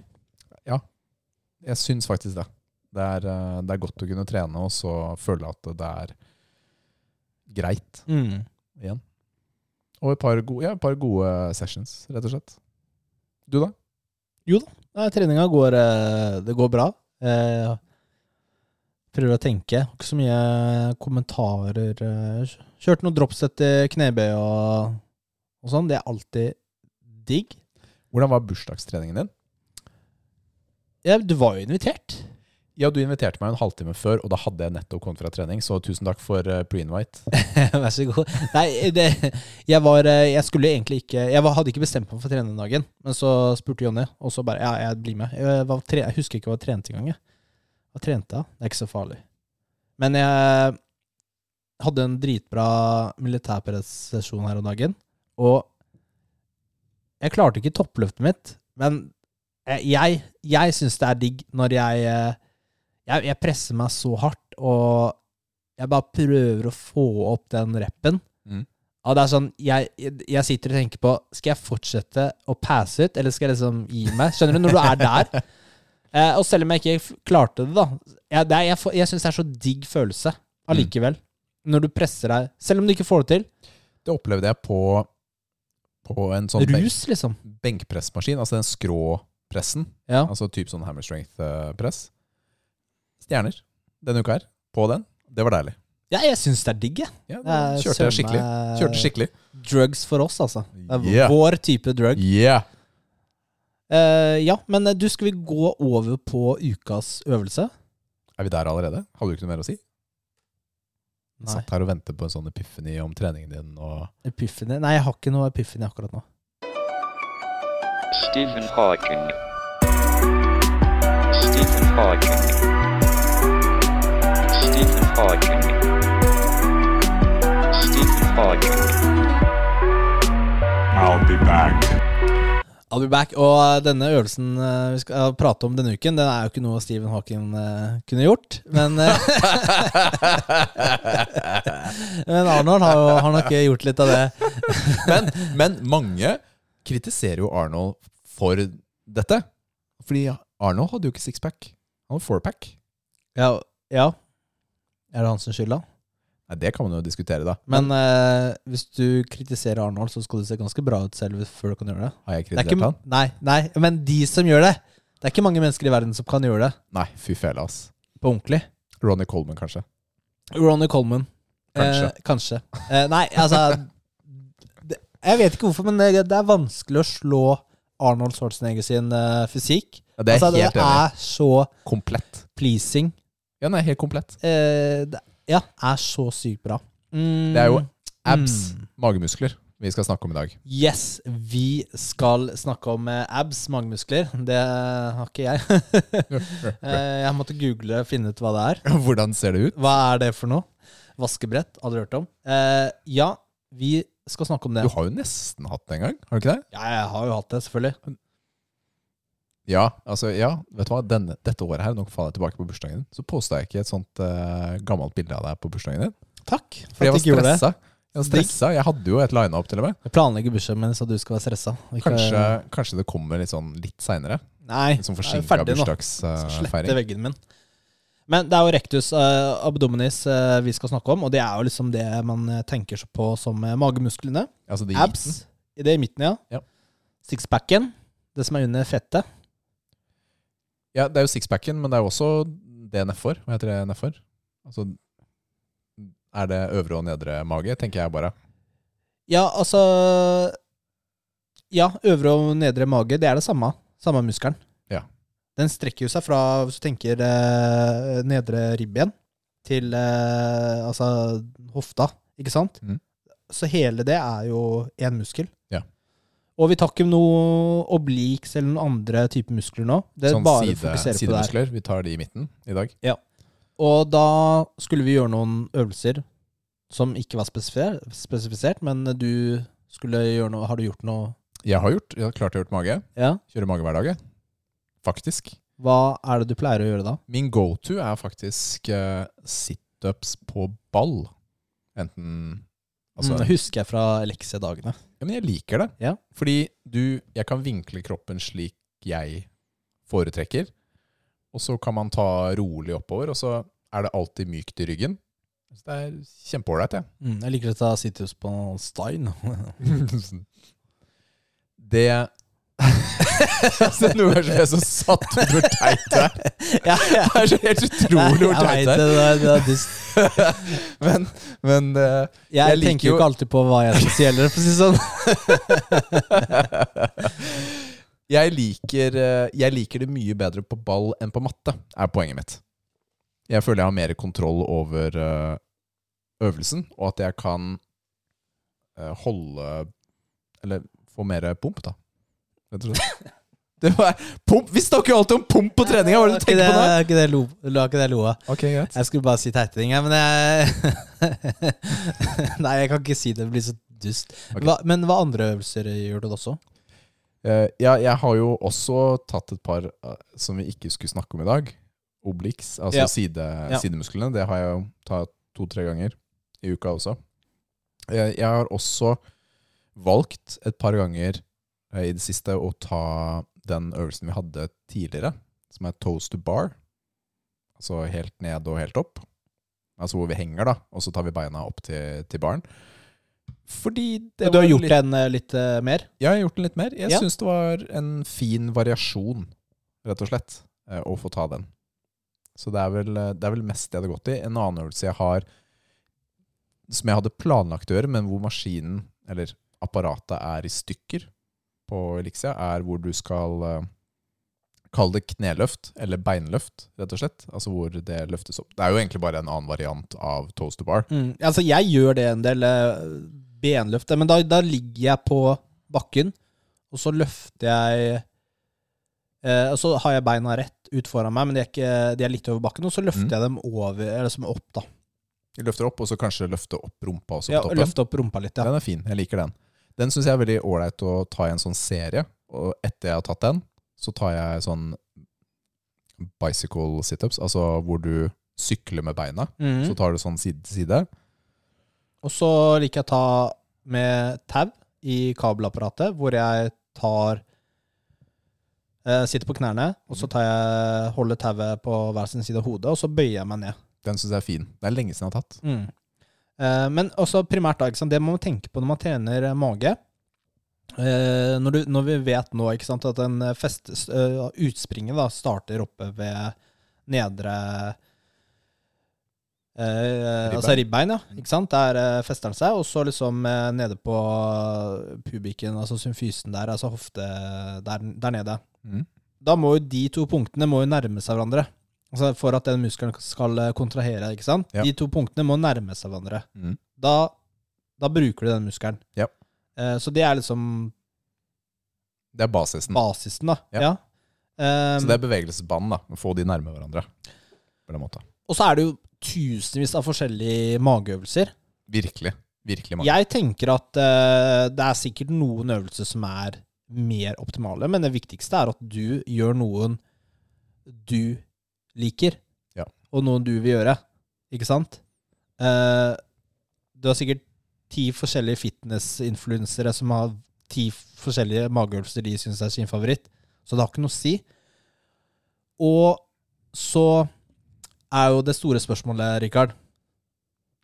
B: Jeg syns faktisk det. Det er, eh, det er godt å kunne trene og så føle at det er greit
A: Mm.
B: igjen. Og et par gode, ja, et par gode sessions, rett og slett. Du, da?
A: Nei, treninga går eh, Det går bra. Eh, prøver å tenke. Har Ikke så mye kommentarer. eh. Kjørte noen dropset i knebøy og, og sånn. Det er alltid digg.
B: Hvordan var bursdagstreningen din?
A: Ja, du var jo invitert.
B: Ja, du inviterte meg en halvtime før, og da hadde jeg nettopp kommet fra trening, så tusen takk for eh, pre-invite.
A: [LAUGHS] Vær så god. Nei, det, jeg var eh, Jeg skulle egentlig ikke Jeg var, hadde ikke bestemt meg for trening den dagen, men så spurte Jonny, og så bare Ja, jeg blir med. Jeg, var, tre, jeg husker ikke hva jeg trente engang, jeg. Hva trente jeg? Det er ikke så farlig. Men jeg hadde en dritbra militærpressesjon her om dagen, og jeg klarte ikke toppløftet mitt, men jeg, jeg, jeg syns det er digg når jeg, eh, jeg Jeg presser meg så hardt, og jeg bare prøver å få opp den rappen.
B: Mm.
A: Og det er sånn, jeg, jeg sitter og tenker på Skal jeg fortsette å passe ut, eller skal jeg liksom gi meg? Skjønner du, når du er der.
B: [LAUGHS]
A: Eh, og selv om jeg ikke f- klarte det, da. Jeg, det er, jeg, får- jeg syns det er så digg følelse
B: Mm.
A: allikevel. Når du presser deg, selv om du ikke får det til.
B: Det opplevde jeg på, på en sånn benk,
A: Rus, liksom.
B: benkpressmaskin, altså den skråpressen,
A: Ja.
B: altså typ sånn hammer strength-press. Stjerner denne uka her, på den. Det var deilig.
A: ja, jeg syns det er digg, jeg.
B: Ja,
A: Det er
B: kjørte jeg
A: søren
B: skikkelig.
A: meg
B: Kjørte skikkelig.
A: Drugs for oss, altså. Det er
B: Yeah.
A: Vår type drug.
B: Yeah!
A: Eh, ja, men eh, du, skal vi gå over på ukas øvelse?
B: Er vi der allerede? Hadde du ikke noe mer å si? Jeg
A: Nei.
B: Satt her og ventet på en sånn epiphany om treningen din og
A: Epiphany? Nei, jeg har ikke noe epiphany akkurat nå.
C: Stephen Hawking. Stephen Hawking. Stephen Hawking. Stephen Hawking.
D: I'll be back.
A: I'll be back. Og eh, denne øvelsen eh, vi skal eh, prate om denne uken, den er jo ikke noe Stephen Hawking eh, kunne gjort. Men, eh, [LAUGHS] men Arnold har, jo, har nok gjort litt av det.
B: Men, men mange kritiserer jo Arnold for dette. Fordi Arnold hadde jo ikke sixpack. Han hadde fourpack.
A: Ja. ja. Er det hans skyld, da?
B: Nei, det kan man jo diskutere, da.
A: Men eh, hvis du kritiserer Arnold, så skal du se ganske bra ut selv før du kan gjøre det.
B: har jeg
A: det er
B: kritisert
A: ikke,
B: han?
A: nei, nei, men de som gjør det. Det er ikke mange mennesker i verden som kan gjøre det
B: Nei, fy fele, ass.
A: på ordentlig.
B: Ronny Coleman, kanskje.
A: Ronny Coleman.
B: Kanskje.
A: Eh, kanskje. Eh, nei, altså det, Jeg vet ikke hvorfor, men det, det er vanskelig å slå Arnold Schwarzenegger sin eh, fysikk.
B: Ja, det er
A: altså,
B: helt
A: det
B: enig.
A: er så
B: Komplett.
A: pleasing.
B: Ja, nei, helt komplett.
A: Eh, det, ja, er så sykt bra. Mm,
B: Det er jo abs,
A: Mm.
B: magemuskler. vi skal snakke om
A: [LAUGHS]
B: i dag.
A: Yes, vi skal snakke om eh, abs, magemuskler. Det har ikke jeg. [LAUGHS] Eh, jeg måtte google og finne ut hva det er.
B: Hvordan ser det ut?
A: Hva er det for noe? Vaskebrett, hadde du hørt om? Eh, ja, vi skal snakke om det.
B: Du har jo nesten hatt det en gang, har du ikke det?
A: Ja, jeg har jo hatt det, selvfølgelig.
B: Ja, altså, ja, vet du hva, Denne, dette året her, nå faller jeg tilbake på bursdagen din, så posta jeg ikke et sånt eh, gammelt bilde av deg på bursdagen din.
A: Takk for at du
B: Fordi jeg var
A: ikke gjorde det.
B: stressa. Jeg var stressa, jeg hadde jo et line-up til og med.
A: Jeg planlegger bursdagen min så du skal være stressa. og ikke-
B: Kanskje, kanskje det kommer litt sånn litt seinere?
A: Nei,
B: Litt sånn
A: jeg er
B: forsinka
A: ferdig nå. Skal slette
B: bursdagsfeiring?
A: veggen min. Men det er jo rectus eh, abdominis eh, vi skal snakke om, og det er jo liksom det man eh, tenker seg på som eh, magemusklene.
B: Altså, det
A: Abs.
B: gikk den.
A: I det i midten, ja.
B: Ja.
A: Sixpacken. Det som er under fettet.
B: Ja, det er jo sixpacken, men det er jo også det nedfor. Hva heter det nedfor? Altså, er det øvre og nedre mage, tenker jeg bare.
A: Ja, altså Ja, øvre og nedre mage, det er det samme. Samme muskelen.
B: Ja.
A: Den strekker jo seg fra, hvis du tenker eh, nedre ribben, til eh, altså hofta, ikke sant?
B: Mhm.
A: Så hele det er jo én muskel.
B: Ja.
A: Og vi tar ikke noe obliques eller noen andre type muskler nå. Det er
B: sånn
A: bare å
B: side,
A: fokusere på det her.
B: sidemuskler. Vi tar de i midten i dag.
A: Og da skulle vi gjøre noen øvelser som ikke var spesifer- spesifisert, men du skulle gjøre noe Har du gjort noe?
B: Jeg har gjort, jeg har klart å gjort mage.
A: Ja.
B: Kjører mage hver dag, jeg. Faktisk.
A: Hva er det du pleier å gjøre da?
B: Min go-to er faktisk eh, situps på ball. Enten altså,
A: Mm, husker jeg fra leksedagene.
B: ja, Men jeg liker det.
A: Ja.
B: Fordi du Jeg kan vinkle kroppen slik jeg foretrekker. Og så kan man ta rolig oppover, og så er det alltid mykt i ryggen. Så det er kjempeålreit, jeg.
A: Mm, jeg liker å ta situs på [LAUGHS] stein.
B: [LAUGHS] Det [LAUGHS] altså, Noen ganger så blir jeg så satt ut hvor teit det er.
A: ja, ja.
B: Det er så helt utrolig hvor
A: Jeg
B: teit
A: vet
B: det
A: det,
B: er.
A: det er- det er dust.
B: [LAUGHS] Men, men eh,
A: Jeg,
B: Jeg liker
A: tenker jo
B: jo-
A: ikke alltid på hva jeg syns gjelder, for å si det sånn.
B: [LAUGHS] jeg, liker, eh, jeg liker det mye bedre på ball enn på matte, er poenget mitt. Jeg føler jeg har mer kontroll over eh, øvelsen, og at jeg kan eh, holde Eller få mer pump, da. Rett og slett. Det var pump. Vi snakker jo alltid om pump på treninga! Hva er det du
A: [LAUGHS] Ikke
B: tenker på nå?
A: det- ikke det lo- la ikke det loa.
B: Ok, greit.
A: Jeg skulle bare si teite ting, jeg, [LAUGHS] men jeg Nei, jeg kan ikke si det. Det blir så dust.
B: Ok.
A: Hva, men hva andre øvelser gjør du da også?
B: Eh, ja, jeg har jo også tatt et par eh, som vi ikke skulle snakke om i dag. Oblix, altså
A: Ja.
B: side,
A: Ja.
B: sidemusklene. Det har jeg jo tatt to-tre ganger i uka også. Eh, Jeg, jeg har også valgt et par ganger eh, i det siste å ta den øvelsen vi hadde tidligere, som er toes to bar. Altså helt ned og helt opp. Altså hvor vi henger, da, og så tar vi beina opp til, til baren. Fordi det
A: Du har
B: var
A: gjort
B: litt-
A: den eh, litt eh, mer?
B: ja, jeg har gjort den litt mer. Jeg
A: Ja.
B: synes syns det var en fin variasjon, rett og slett, eh, å få ta den. Så det er vel, eh, det er vel mest det jeg hadde gått i. En annen øvelse jeg har som jeg hadde planlagt å gjøre, men hvor maskinen, eller apparatet, er i stykker på Elixia, er hvor du skal eh, Kall det kneløft, eller beinløft, rett og slett. Altså hvor det løftes opp. Det er jo egentlig bare en annen variant av toast to bar.
A: Mm. Altså, jeg gjør det en del eh, benløft, men da, da ligger jeg på bakken, og så løfter jeg eh, Og så har jeg beina rett ut foran meg, men de er, ikke, de er litt over bakken, og så løfter
B: Mm.
A: jeg dem over, eller som opp, da.
B: Du løfter opp, og så kanskje løfte opp rumpa også.
A: Ja,
B: på
A: og
B: toppen.
A: løfte opp rumpa litt, ja.
B: Den er fin. Jeg liker den. Den syns jeg er veldig ålreit å ta i en sånn serie. Og etter jeg har tatt den, så tar jeg sånn bicycle situps, altså hvor du sykler med beina.
A: Mm.
B: Så tar du sånn side til side.
A: Og så liker jeg å ta med tau i kabelapparatet, hvor jeg tar eh, Sitter på knærne, og så tar jeg, holder tauet på hver sin side av hodet, og så bøyer jeg meg ned.
B: Den syns jeg er fin. Det er lenge siden jeg har tatt.
A: Mm. Eh, men også primært, da, ikke sant? det må man tenke på når man trener eh, mage. Eh, når, du, når vi vet nå ikke sant, at den eh, fest, s- eh, utspringet da, starter oppe ved nedre eh, Altså ribbein, ja.
B: Mm.
A: Ikke sant? Der eh, fester den seg. Og så liksom eh, nede på pubiken, altså symfysen der, altså hofte der, der nede.
B: Mm.
A: Da må jo de to punktene må jo nærme seg hverandre. Altså For at den muskelen skal eh, kontrahere. ikke sant?
B: Ja.
A: De to punktene må nærme seg hverandre.
B: Mm.
A: Da, da bruker du den muskelen.
B: Ja.
A: Eh, Så det er liksom
B: Det er basisen.
A: basisen, da.
B: Mm. Ja.
A: Ja. Eh,
B: Så det er bevegelsesbanen. da Få de nærme hverandre. På en måte.
A: Og så er det jo tusenvis av forskjellige mageøvelser.
B: Virkelig. Virkelig mange.
A: Jeg tenker at eh, det er sikkert noen øvelser som er mer optimale, men det viktigste er at du gjør noen du liker,
B: Ja.
A: og noen du vil gjøre. Ikke sant? Eh, du har sikkert ti forskjellige fitness-influensere som har ti forskjellige mageøvelser de syns er sin favoritt, så det har ikke noe å si. Og så er jo det store spørsmålet, Rikard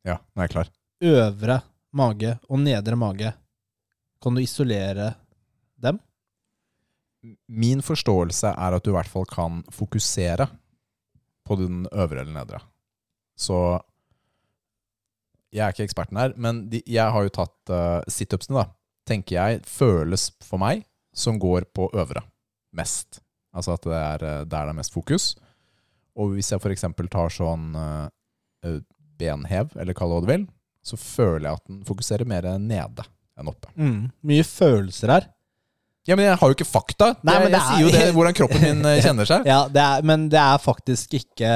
B: Ja, nå er jeg klar.
A: øvre mage og nedre mage, kan du isolere dem?
B: Min forståelse er at du i hvert fall kan fokusere på den øvre eller nedre. Så Jeg er ikke eksperten her, men de, jeg har jo tatt uh, situpsene, da. Tenker jeg føles for meg som går på øvre mest. Altså at det er eh, der det er mest fokus. Og hvis jeg f.eks. tar sånn eh, eh, benhev, eller kall det hva du vil, så føler jeg at den fokuserer mer nede enn oppe.
A: Mye følelser her.
B: Ja, men jeg har jo ikke fakta.
A: Nei,
B: jeg,
A: men det
B: jeg sier jo
A: er-
B: det, hvordan kroppen min eh, kjenner seg.
A: [LAUGHS] Ja, det er, men det er faktisk ikke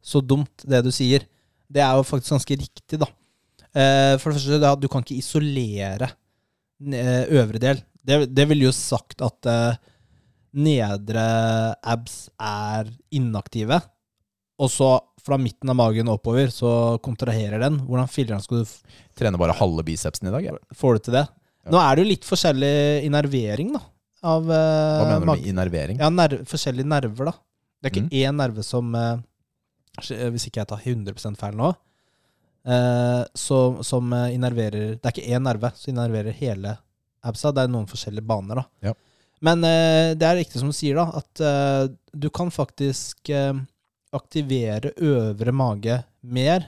A: så dumt, det du sier. Det er jo faktisk ganske riktig, da. Eh, For det første, det er at du kan ikke isolere n- eh, øvre del. Det, det ville jo sagt at eh, nedre abs er inaktive, og så fra midten av magen og oppover, så kontraherer den. Hvordan filleren skal du f-
B: Trener bare halve bicepsen i dag. Jeg.
A: Får du til det? Nå er det jo litt forskjellig innervering, da. Av, eh,
B: Hva mener du med Mm. innervering?
A: Ja, ner forskjellige nerver, da. Det er ikke én nerve som eh, skje- Hvis ikke jeg tar 100 feil nå, eh, som, som eh, innerverer Det er ikke én nerve som innerverer hele absa. Det er noen forskjellige baner, da.
B: Ja.
A: Men eh, det er riktig som du sier, da, at eh, du kan faktisk eh, aktivere øvre mage mer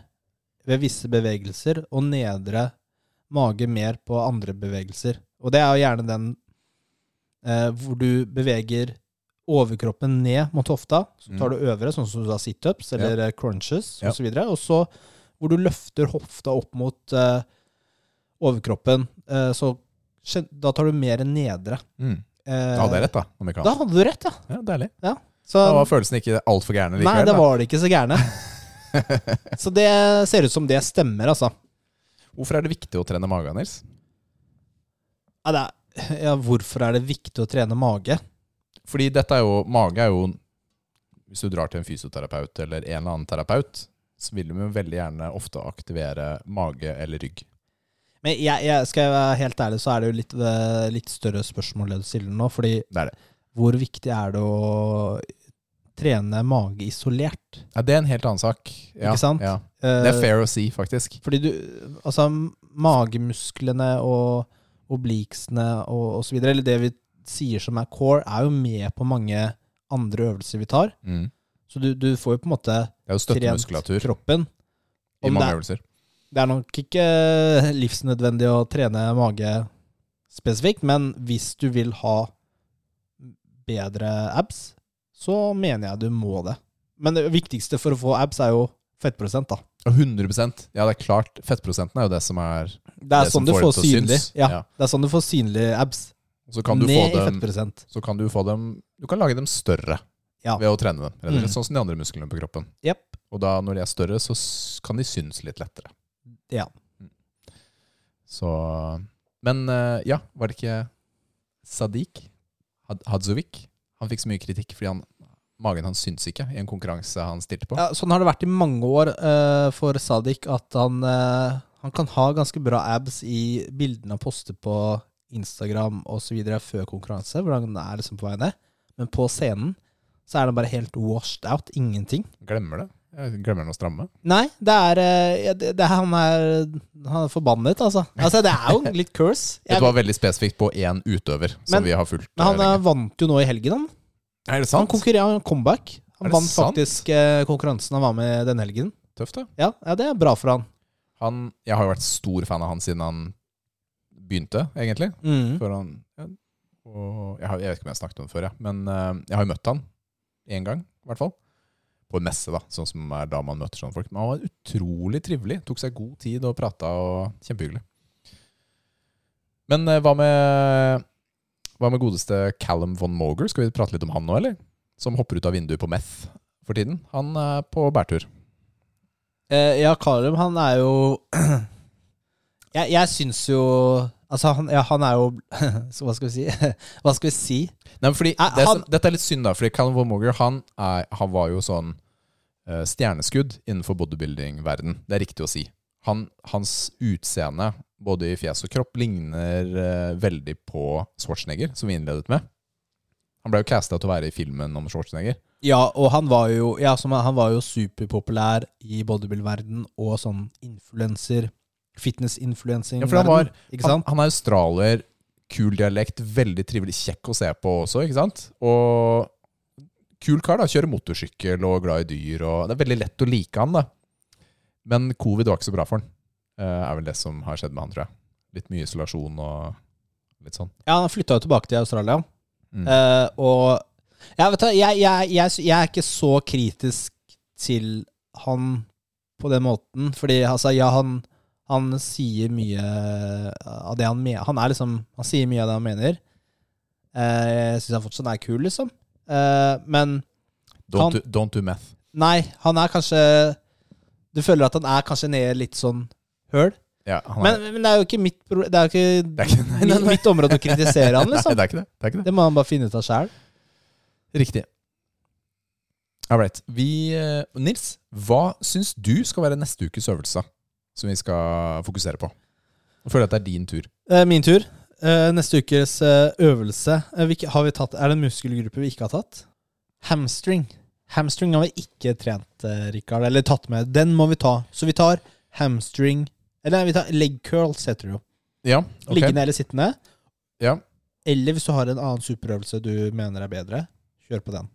A: ved visse bevegelser, og nedre mage mer på andre bevegelser. Og det er jo gjerne den eh, hvor du beveger overkroppen ned mot hofta. Så tar du øvre, sånn som du har situps eller eh, crunches
B: Mm. Ja.
A: osv. Og så hvor du løfter hofta opp mot eh, overkroppen. Eh, så skjen- da tar du mer nedre.
B: Mm.
A: Eh,
B: Da hadde jeg rett, da. Om jeg ikke
A: Da
B: annet.
A: hadde du rett, ja.
B: Ja, deilig.
A: Så,
B: Da var følelsen ikke altfor gæren
A: nei,
B: likevel.
A: det
B: Da.
A: var det ikke så gærne.
B: [LAUGHS]
A: så det ser ut som det stemmer, altså.
B: Hvorfor er det viktig å trene magen, Nils?
A: Ja, det er, ja, hvorfor er det viktig å trene mage?
B: Fordi dette er jo Mage er jo Hvis du drar til en fysioterapeut eller en eller annen terapeut, så vil de jo veldig gjerne ofte aktivere mage eller rygg.
A: Men jeg, jeg, skal jeg være helt ærlig, så er det jo litt, eh, litt større spørsmål det du stiller nå. Fordi
B: Det er det.
A: hvor viktig er det å trene mage isolert?
B: Ja, det er en helt annen sak. Ja,
A: Ikke sant?
B: Ja.
A: Eh,
B: Det er fair å si, faktisk.
A: Fordi du Altså, magemusklene og obliksene og, og så videre, eller det vi sier som er core, er jo med på mange andre øvelser vi tar.
B: Mm.
A: Så du, du får jo på en måte
B: Det er jo
A: trent
B: støttemuskulatur
A: kroppen. Om
B: i
A: det,
B: mange
A: er,
B: øvelser.
A: det er nok ikke eh, livsnødvendig å trene mage spesifikt, men hvis du vil ha bedre abs, så mener jeg du må det. Men det viktigste for å få abs er jo fettprosent, da.
B: Ja, 100 Ja, det er klart. Fettprosenten er jo det som er
A: Det er
B: Det som
A: sånn du
B: får
A: får
B: det til å
A: synlig.
B: synes.
A: Ja,
B: Ja.
A: det er sånn du får synlig abs.
B: Så kan du
A: Ned
B: få
A: i
B: dem
A: fettprosent.
B: så kan du få dem Du kan lage dem større
A: Ja.
B: ved å trene dem. Rett og
A: Mm.
B: slett, Sånn som de andre musklene på kroppen.
A: Jepp.
B: Og da når de er større, så s- kan de synes litt lettere. Mm.
A: Ja.
B: Så Men eh, ja, var det ikke Sadiq Had Hadzovic? Han fikk så mye kritikk fordi han, magen hans syns ikke i en konkurranse han stilte på.
A: Ja, sånn har det vært i mange år eh, for Sadik at han, eh, han kan ha ganske bra abs i bildene han poster på Instagram osv. før konkurranse, hvor han er liksom på vei ned. Men på scenen så er han bare helt washed out. Ingenting.
B: Glemmer det. Jeg glemmer noe stramme.
A: Nei, det er, eh, ja, det, det, er- han, er, han er forbannet, altså. altså. Det er
B: [LAUGHS]
A: jo litt curse. Jeg,
B: Dette var veldig spesifikt på én utøver som
A: Men-
B: vi har fulgt.
A: men han
B: eh,
A: eh,
B: lenge.
A: vant jo nå i helgen, han.
B: er det
A: Han
B: sant?
A: konkurrerte comeback.
B: Er
A: Han
B: det
A: vant
B: sant?
A: faktisk eh, konkurransen han var med i denne helgen.
B: Tøft, da.
A: Ja, ja, det er bra for han.
B: Han, jeg har jo vært stor fan av han siden han begynte, egentlig.
A: Mm.
B: før han ja, og jeg, har, jeg vet ikke om jeg har snakket om det før, jeg, men eh, jeg har jo møtt han én gang, i hvert fall. På en messe, da, sånn som er da man møter sånne folk. Men han var utrolig trivelig. Tok seg god tid og prata og Kjempehyggelig. Men eh, hva med Hva med godeste Callum von Moger? Skal vi prate litt om han nå, eller? Som hopper ut av vinduet på meth for tiden. Han er på bærtur.
A: Eh, ja, Karum, han er jo [CLEARS THROAT] Jeg, jeg syns jo Altså, han, ja, han er jo [LAUGHS] så Hva skal vi si? [LAUGHS] Hva skal vi si?
B: Nei, men fordi
A: Eh,
B: det
A: han-
B: som, Dette er litt synd, da. Fordi Callum von Moger han, er, han var jo sånn eh, stjerneskudd innenfor bodybuilding-verden. Det er riktig å si. Han, hans utseende, både i fjes og kropp, ligner eh, veldig på Schwarzenegger, som vi innledet med. Han ble jo casta til å være i filmen om Schwarzenegger.
A: Ja, og han var jo Ja, som, han var jo superpopulær i bodybuild-verden og sånn influenser. Fitness-influencing.
B: Ja, for han var-
A: Ikke
B: Han,
A: sant?
B: han er australier, kul dialekt, veldig trivelig, kjekk å se på også, ikke sant? Og kul kar, da. Kjører motorsykkel og glad i dyr. Og det er veldig lett å like han, da. Men covid var ikke så bra for han. Eh, er vel det som har skjedd med han, tror jeg. Litt mye isolasjon og litt sånn.
A: Ja, han flytta jo tilbake til Australia.
B: Mm.
A: Eh, og ja, vet du, hva, jeg, jeg, jeg, sy- jeg er ikke så kritisk til han på den måten. Fordi altså, ja, han, han sier mye av det han mener. Han, er liksom, han sier mye av det han mener. Eh, jeg syns han fortsatt er kul, liksom. Eh, men han-
B: Don't, do, don't do meth.
A: nei, han er kanskje Du føler at han er kanskje nede i litt sånn høl.
B: Ja, han er,
A: Men, liksom- men det er jo ikke mitt pro- Det er jo ikke,
B: det er ikke, [LAUGHS] nei, nei,
A: mi- mitt område å kritisere han,
B: [LAUGHS] nei,
A: liksom.
B: det er ikke det. det, er ikke
A: [LAUGHS]
B: det.
A: Det må han bare finne ut av sjæl.
B: Riktig. All right. Vi, eh, Nils, hva syns du skal være neste ukes øvelse som vi skal fokusere på? Jeg føler at det er din tur.
A: Eh, Min tur. Eh, Neste ukes eh, øvelse eh, hvilke- har vi tatt, Er det en muskelgruppe vi ikke har tatt? Hamstring. Hamstring har vi ikke trent, eh, Rikard. Eller tatt med. Den må vi ta. Så vi tar hamstring Eller nei, vi tar leg curls, heter det jo.
B: Ja, ok.
A: Liggende eller sittende.
B: Ja.
A: Eller hvis du har en annen superøvelse du mener er bedre, kjør på den.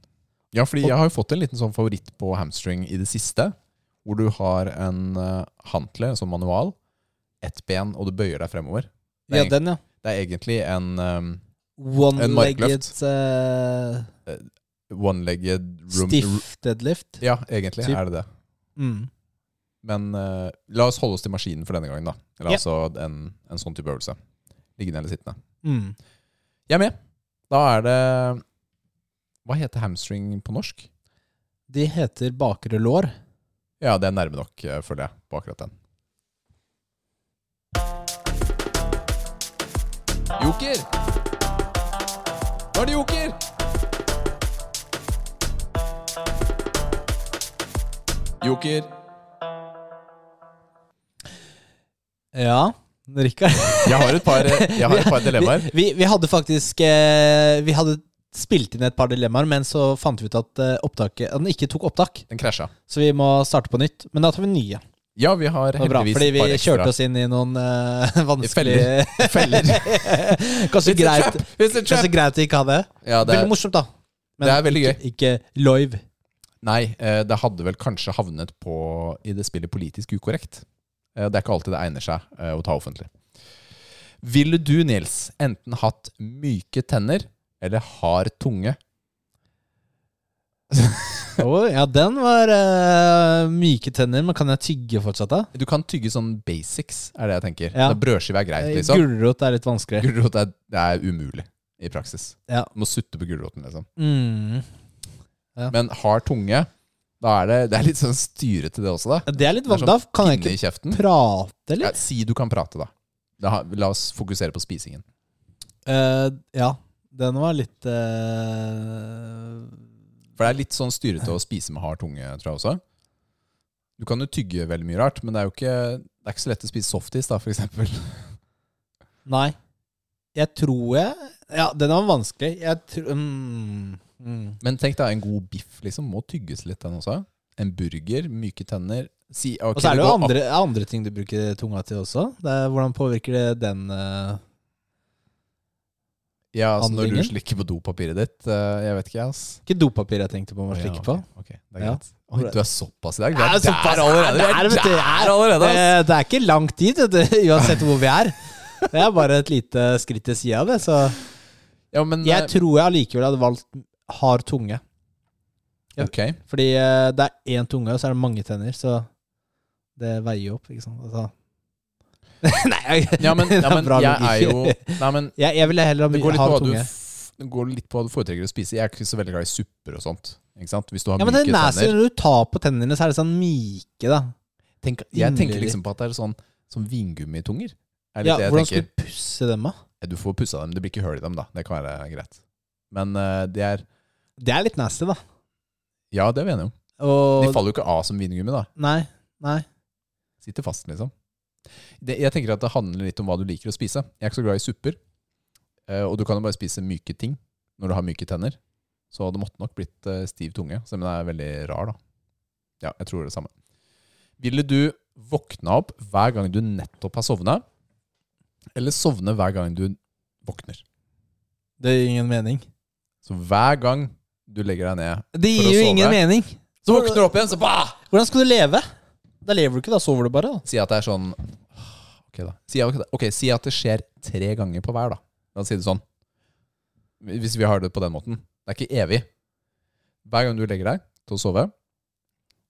B: ja, fordi jeg har jo fått en liten sånn favoritt på hamstring i det siste. Hvor du har en uh, hantle som manual, ett ben, og du bøyer deg fremover. Det er,
A: Ja, den, ja.
B: egentlig- det er egentlig en um,
A: One-legged
B: markløft.
A: eh,
B: one-legged room...
A: stiff deadlift.
B: Ja, egentlig
A: Typ.
B: er det det.
A: Mm.
B: Men eh, la oss holde oss til maskinen for denne gangen, da. Eller
A: Ja.
B: altså en, en sånn type øvelse. Liggende eller sittende.
A: Mm.
B: Jeg er med. Da er det Hva heter hamstring på norsk?
A: De heter bakre lår.
B: Ja, det er nærme nok, eh, føler jeg, på akkurat den. Joker! Nå er det joker! Joker.
A: Ja, Rikard.
B: Jeg har et par, eh, jeg har et par dilemmaer.
A: Vi, vi, vi hadde faktisk eh, Vi hadde spilt inn et par dilemmaer, men så fant vi ut at eh, opptaket at den ikke tok opptak.
B: Den krasja.
A: Så vi må starte på nytt. Men da tar vi nye.
B: Ja, vi har
A: Det var bra,
B: heldigvis
A: fordi vi
B: et par ekstra.
A: kjørte oss inn i noen eh, [LAUGHS] vanskelige
B: feller. feller.
A: [LAUGHS] kanskje, greit,
B: It's a
A: kanskje greit å ikke ha det.
B: Ja, det
A: Veldig
B: er,
A: morsomt, da.
B: det er veldig
A: ikke, ikke
B: [LAUGHS]
A: live.
B: nei, eh, det hadde vel kanskje havnet på i det spillet politisk ukorrekt. Eh, Det er ikke alltid det egner seg eh, å ta offentlig. Ville du, Nils, enten hatt myke tenner eller hard tunge?
A: Å, ja, den var eh, myke tenner, men kan jeg tygge fortsatt, da?
B: Du kan tygge sånn basics, er det jeg tenker.
A: Ja.
B: Ja. Brødskive er greit,
A: Eh,
B: liksom.
A: Gulrot er litt vanskelig.
B: Gulrot er, det er umulig i praksis.
A: Ja.
B: Du må sutte på gulroten, liksom.
A: Mm.
B: Men hard tunge, da er det, det er litt sånn styrete, det også, da.
A: Det er litt
B: Det er sånn
A: vanskelig. Da kan jeg
B: Pinne
A: ikke
B: i kjeften.
A: prate, eller?
B: Ja, si du kan prate, da. da. har- La oss fokusere på spisingen.
A: Eh, ja, den var litt eh,
B: For det er litt sånn styrete å spise med hard tunge, tror jeg også. Du kan jo tygge veldig mye rart, men det er jo ikke, det er ikke så lett å spise softis, da, for eksempel. [LAUGHS]
A: Nei. Jeg tror jeg Ja, den var vanskelig. Jeg tror mm, mm.
B: Men tenk deg, en god biff liksom må tygges litt, den også. En burger, myke tenner. Si, ok,
A: Og så er det jo
B: går opp-
A: andre, andre ting du bruker tunga til også. Det er, hvordan påvirker det den eh,
B: Ja, altså når du
A: handlingen.
B: slikker på dopapiret ditt, eh, jeg vet ikke, ass.
A: Ikke dopapir jeg tenkte på å slikke på.
B: Ja, ok, ok, det er
A: Ja.
B: greit. Oi, du er såpass i dag. Vi
A: Ja,
B: er
A: såpass.
B: der allerede.
A: Ja, der,
B: Vi
A: vet du,
B: er
A: jeg
B: der allerede, ass.
A: Eh, det er ikke langt dit, vet du, [LAUGHS] uansett hvor vi er. Det er bare et lite skritt til sida av det. Så
B: [LAUGHS] Ja, men, eh,
A: jeg tror jeg allikevel hadde valgt hard tunge.
B: ok.
A: Fordi eh, det er én tunge, og så er det mange tenner, så det veier jo opp. ikke sant? Altså, [LAUGHS] Nei, jeg, [LAUGHS]
B: Ja, men, ja, men
A: Bra
B: jeg er jo
A: logikk.
B: Nei, men
A: [LAUGHS] jeg, jeg ville heller ha,
B: det
A: my-
B: går litt
A: ha
B: på hva du
A: tunge.
B: f- Det går litt på hva du foretrekker å spise. Jeg er ikke så veldig glad i supper og sånt. Ikke sant? Hvis du har
A: Ja, men det
B: myke
A: er nasty når
B: tenner.
A: du tar på tennene dine, så er det sånn myke, da.
B: Tenk, jeg tenker
A: Inderlig.
B: liksom på at det er sånn som vingummitunger. Er litt
A: Ja,
B: det jeg
A: hvordan
B: tenker.
A: skal du pusse dem, da?
B: Du får pussa dem, det blir ikke høl i dem, da. Det kan være greit. Men eh, det er
A: Det er litt nasty, da.
B: Ja, det er vi enige om. De
A: Og
B: faller jo ikke av som vingummi, da.
A: Nei. Nei.
B: Sitter fast, liksom. Det, jeg tenker at det handler litt om hva du liker å spise. Jeg er ikke så glad i supper. eh, og du kan jo bare spise myke ting når du har myke tenner. Så det måtte nok blitt eh, stiv tunge. Så, men det er veldig rar, da. Ja, jeg tror det er det samme. Ville du våkna opp hver gang du nettopp har sovna, eller sovne hver gang du våkner?
A: Det gir ingen mening.
B: Så hver gang du legger deg ned,
A: Det
B: For å
A: gir jo
B: sove.
A: ingen mening.
B: så våkner du opp igjen, så bah!
A: Hvordan skal du leve? Da lever du ikke, da sover du bare. da.
B: Si at det er sånn Ok, da. Si, ok, da. ok, si at det skjer tre ganger på hver, da. La oss si det sånn. Hvis vi har det på den måten. Det er ikke evig. Hver gang du legger deg til å sove,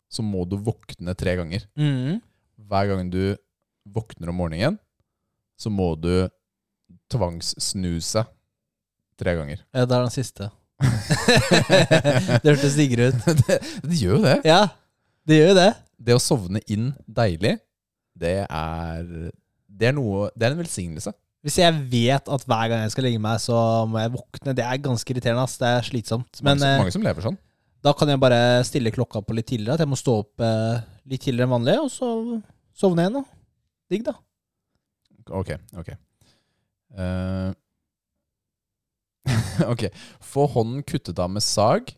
B: så må du våkne tre ganger.
A: Mm.
B: Hver gang du våkner om morgenen, så må du tvangssnuse tre ganger. [LAUGHS]
A: Ja, det er den siste. [LAUGHS] det hørtes diggere ut.
B: det, det gjør jo det.
A: Ja, det gjør jo det.
B: Det å sovne inn deilig, det er Det er noe Det er en velsignelse.
A: Hvis jeg vet at hver gang jeg skal legge meg, så må jeg våkne. Det er ganske irriterende. ass. Det er slitsomt. Men
B: mange, som-
A: eh,
B: mange som lever sånn.
A: da kan jeg bare stille klokka på litt tidligere. At jeg må stå opp eh, litt tidligere enn vanlig, og så sovne igjen. da. Digg, da.
B: Ok, ok. Eh, [LAUGHS] ok. Få hånden kuttet av med sag,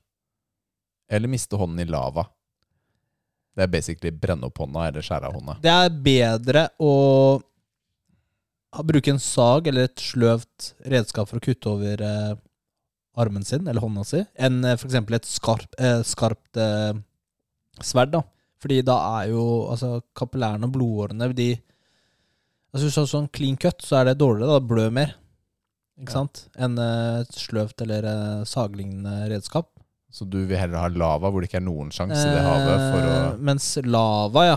B: eller miste hånden i lava. Det er basically brenne opp hånda eller skjære av hånda.
A: Det er bedre å ha- bruke en sag eller et sløvt redskap for å kutte over eh, armen sin eller hånda si, enn eh, for eksempel et skarp, eh, skarpt eh, sverd. da. Fordi da er jo altså, kapillærene og blodårene de altså Hvis du har sånn clean cut, så er det dårligere. Da det blør mer. Ikke
B: Ja.
A: sant? Enn eh, et sløvt eller eh, saglignende redskap.
B: Så du vil heller ha lava hvor det ikke er noen sjanse i det havet for å
A: Eh, Mens lava, ja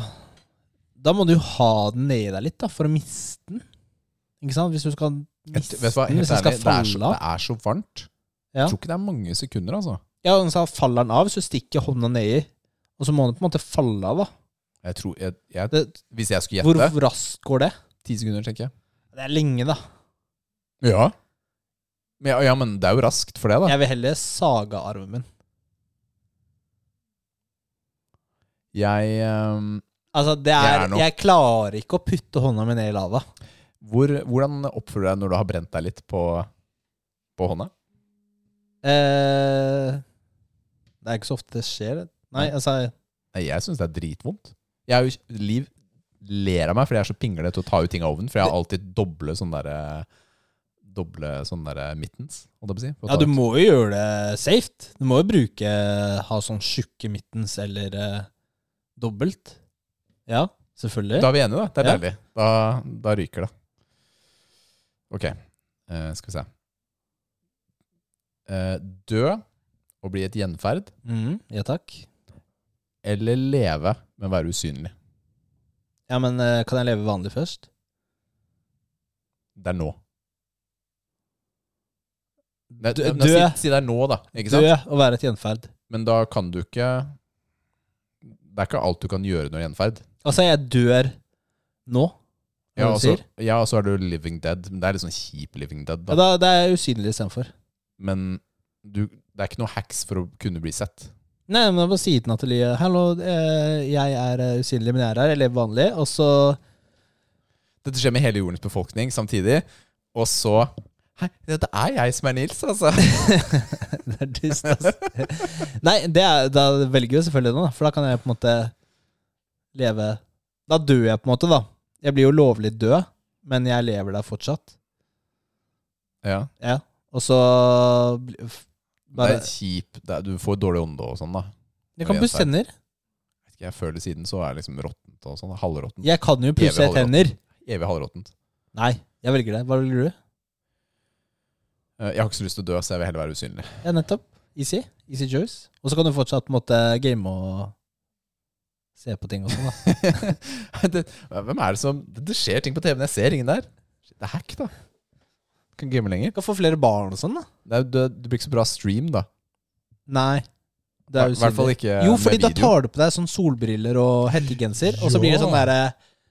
A: Da må du ha den nedi deg litt da For å miste den Ikke sant? Hvis du skal
B: Vet
A: miste
B: du hva,
A: den
B: helt
A: Hvis den
B: ærlig,
A: skal
B: det er så,
A: falle
B: det
A: av
B: er så varmt.
A: Ja.
B: Jeg tror ikke det er mange sekunder, altså.
A: Ja, den skal falle den av Så stikker hånda nedi Og så må den på en måte falle av da
B: Jeg tror, jeg, jeg,
A: det,
B: hvis jeg skulle
A: Hvor
B: gjette
A: raskt går det?
B: Ti sekunder, tenker jeg.
A: Det er lenge da
B: Ja. Men, ja, ja, men det er jo raskt for det, da.
A: Jeg vil heller saga armen min
B: Jeg ehm,
A: Altså det
B: Jeg
A: er
B: er
A: Jeg,
B: nok-
A: klarer ikke å putte hånda mi ned i lava
B: Hvor, hvordan oppfører du deg når du har brent deg litt på, på hånda?
A: eh, Det er ikke så ofte det skjer det. Nei,
B: Nei.
A: altså
B: Nei, jeg syns det er dritvondt. Jeg er jo, Liv ler av meg fordi jeg er så pinglete til å ta ut ting av ovnen. For jeg har alltid doble sånne der, Doble sånne der mittens, holdt jeg på å si. for å
A: Ja,
B: ta
A: du
B: ut.
A: må jo gjøre det safe. Du må jo bruke ha sånn tjukke mittens eller eh, dobbelt. Ja, selvfølgelig.
B: Da er vi enige, da. Det er
A: Ja.
B: deilig. Da, da ryker det. Ok, eh, skal vi se. Eh, dø og bli et gjenferd,
A: Mhm, ja takk.
B: eller leve, men være usynlig.
A: Ja, men eh, kan jeg leve vanlig først?
B: Det er nå. Nei,
A: Dø-
B: nei,
A: dø.
B: Si, si det er nå, da. Ikke sant?
A: Dø og være et gjenferd.
B: Men da kan du ikke Det er ikke alt du kan gjøre når gjenferd.
A: Altså, jeg dør nå. hva
B: Ja,
A: du
B: og så-
A: sier.
B: ja, og så er du living dead. Men det er litt sånn kjip living dead,
A: Ja,
B: da.
A: da, det er jeg usynlig istedenfor.
B: Men du, det er ikke noe hacks for å kunne bli sett.
A: Nei, men på siden av atelieret Hallo, eh, jeg er eh, usynlig, men jeg er her. Jeg lever vanlig. Og så
B: Dette skjer med hele jordens befolkning samtidig, og så Hei, det det er jeg som er Nils, altså!
A: [LAUGHS] Det er dyst, ass. Nei, det er, da velger jeg jo selvfølgelig noe, da. For da kan jeg på en måte leve Da dør jeg på en måte, da. Jeg blir jo lovlig død, men jeg lever der fortsatt.
B: Ja.
A: Ja. Og så bli- f-
B: Det
A: bare
B: er kjip det er, Du får dårlig ånde og sånn, da.
A: Jeg kan pusse tenner.
B: Vet ikke, Jeg føler siden så er det liksom råttent og sånn. Halvråttent.
A: Jeg kan jo pusse
B: Evig holder
A: tenner.
B: Evig halvråttent.
A: Nei, jeg velger det. Hva velger du?
B: Eh, Jeg har ikke så lyst til å dø, så jeg vil heller være usynlig. [LAUGHS]
A: Ja, nettopp. Easy. Easy choice. Og så kan du fortsatt på en måte game og se på ting og sånn, da.
B: det, hvem er det som Det det skjer ting på TV-en. Jeg ser ingen der. Shit, Det er hack, da. Kan game lenger.
A: Kan få flere barn og sånn, da.
B: Det, er, det, det blir ikke så bra stream, da.
A: Nei. Det er
B: I
A: jo
B: hvert fall
A: synd.
B: ikke
A: Jo,
B: Eh, med
A: fordi da
B: video.
A: tar du på deg sånn solbriller og hettegenser, og så blir det sånn
B: Ja.
A: derre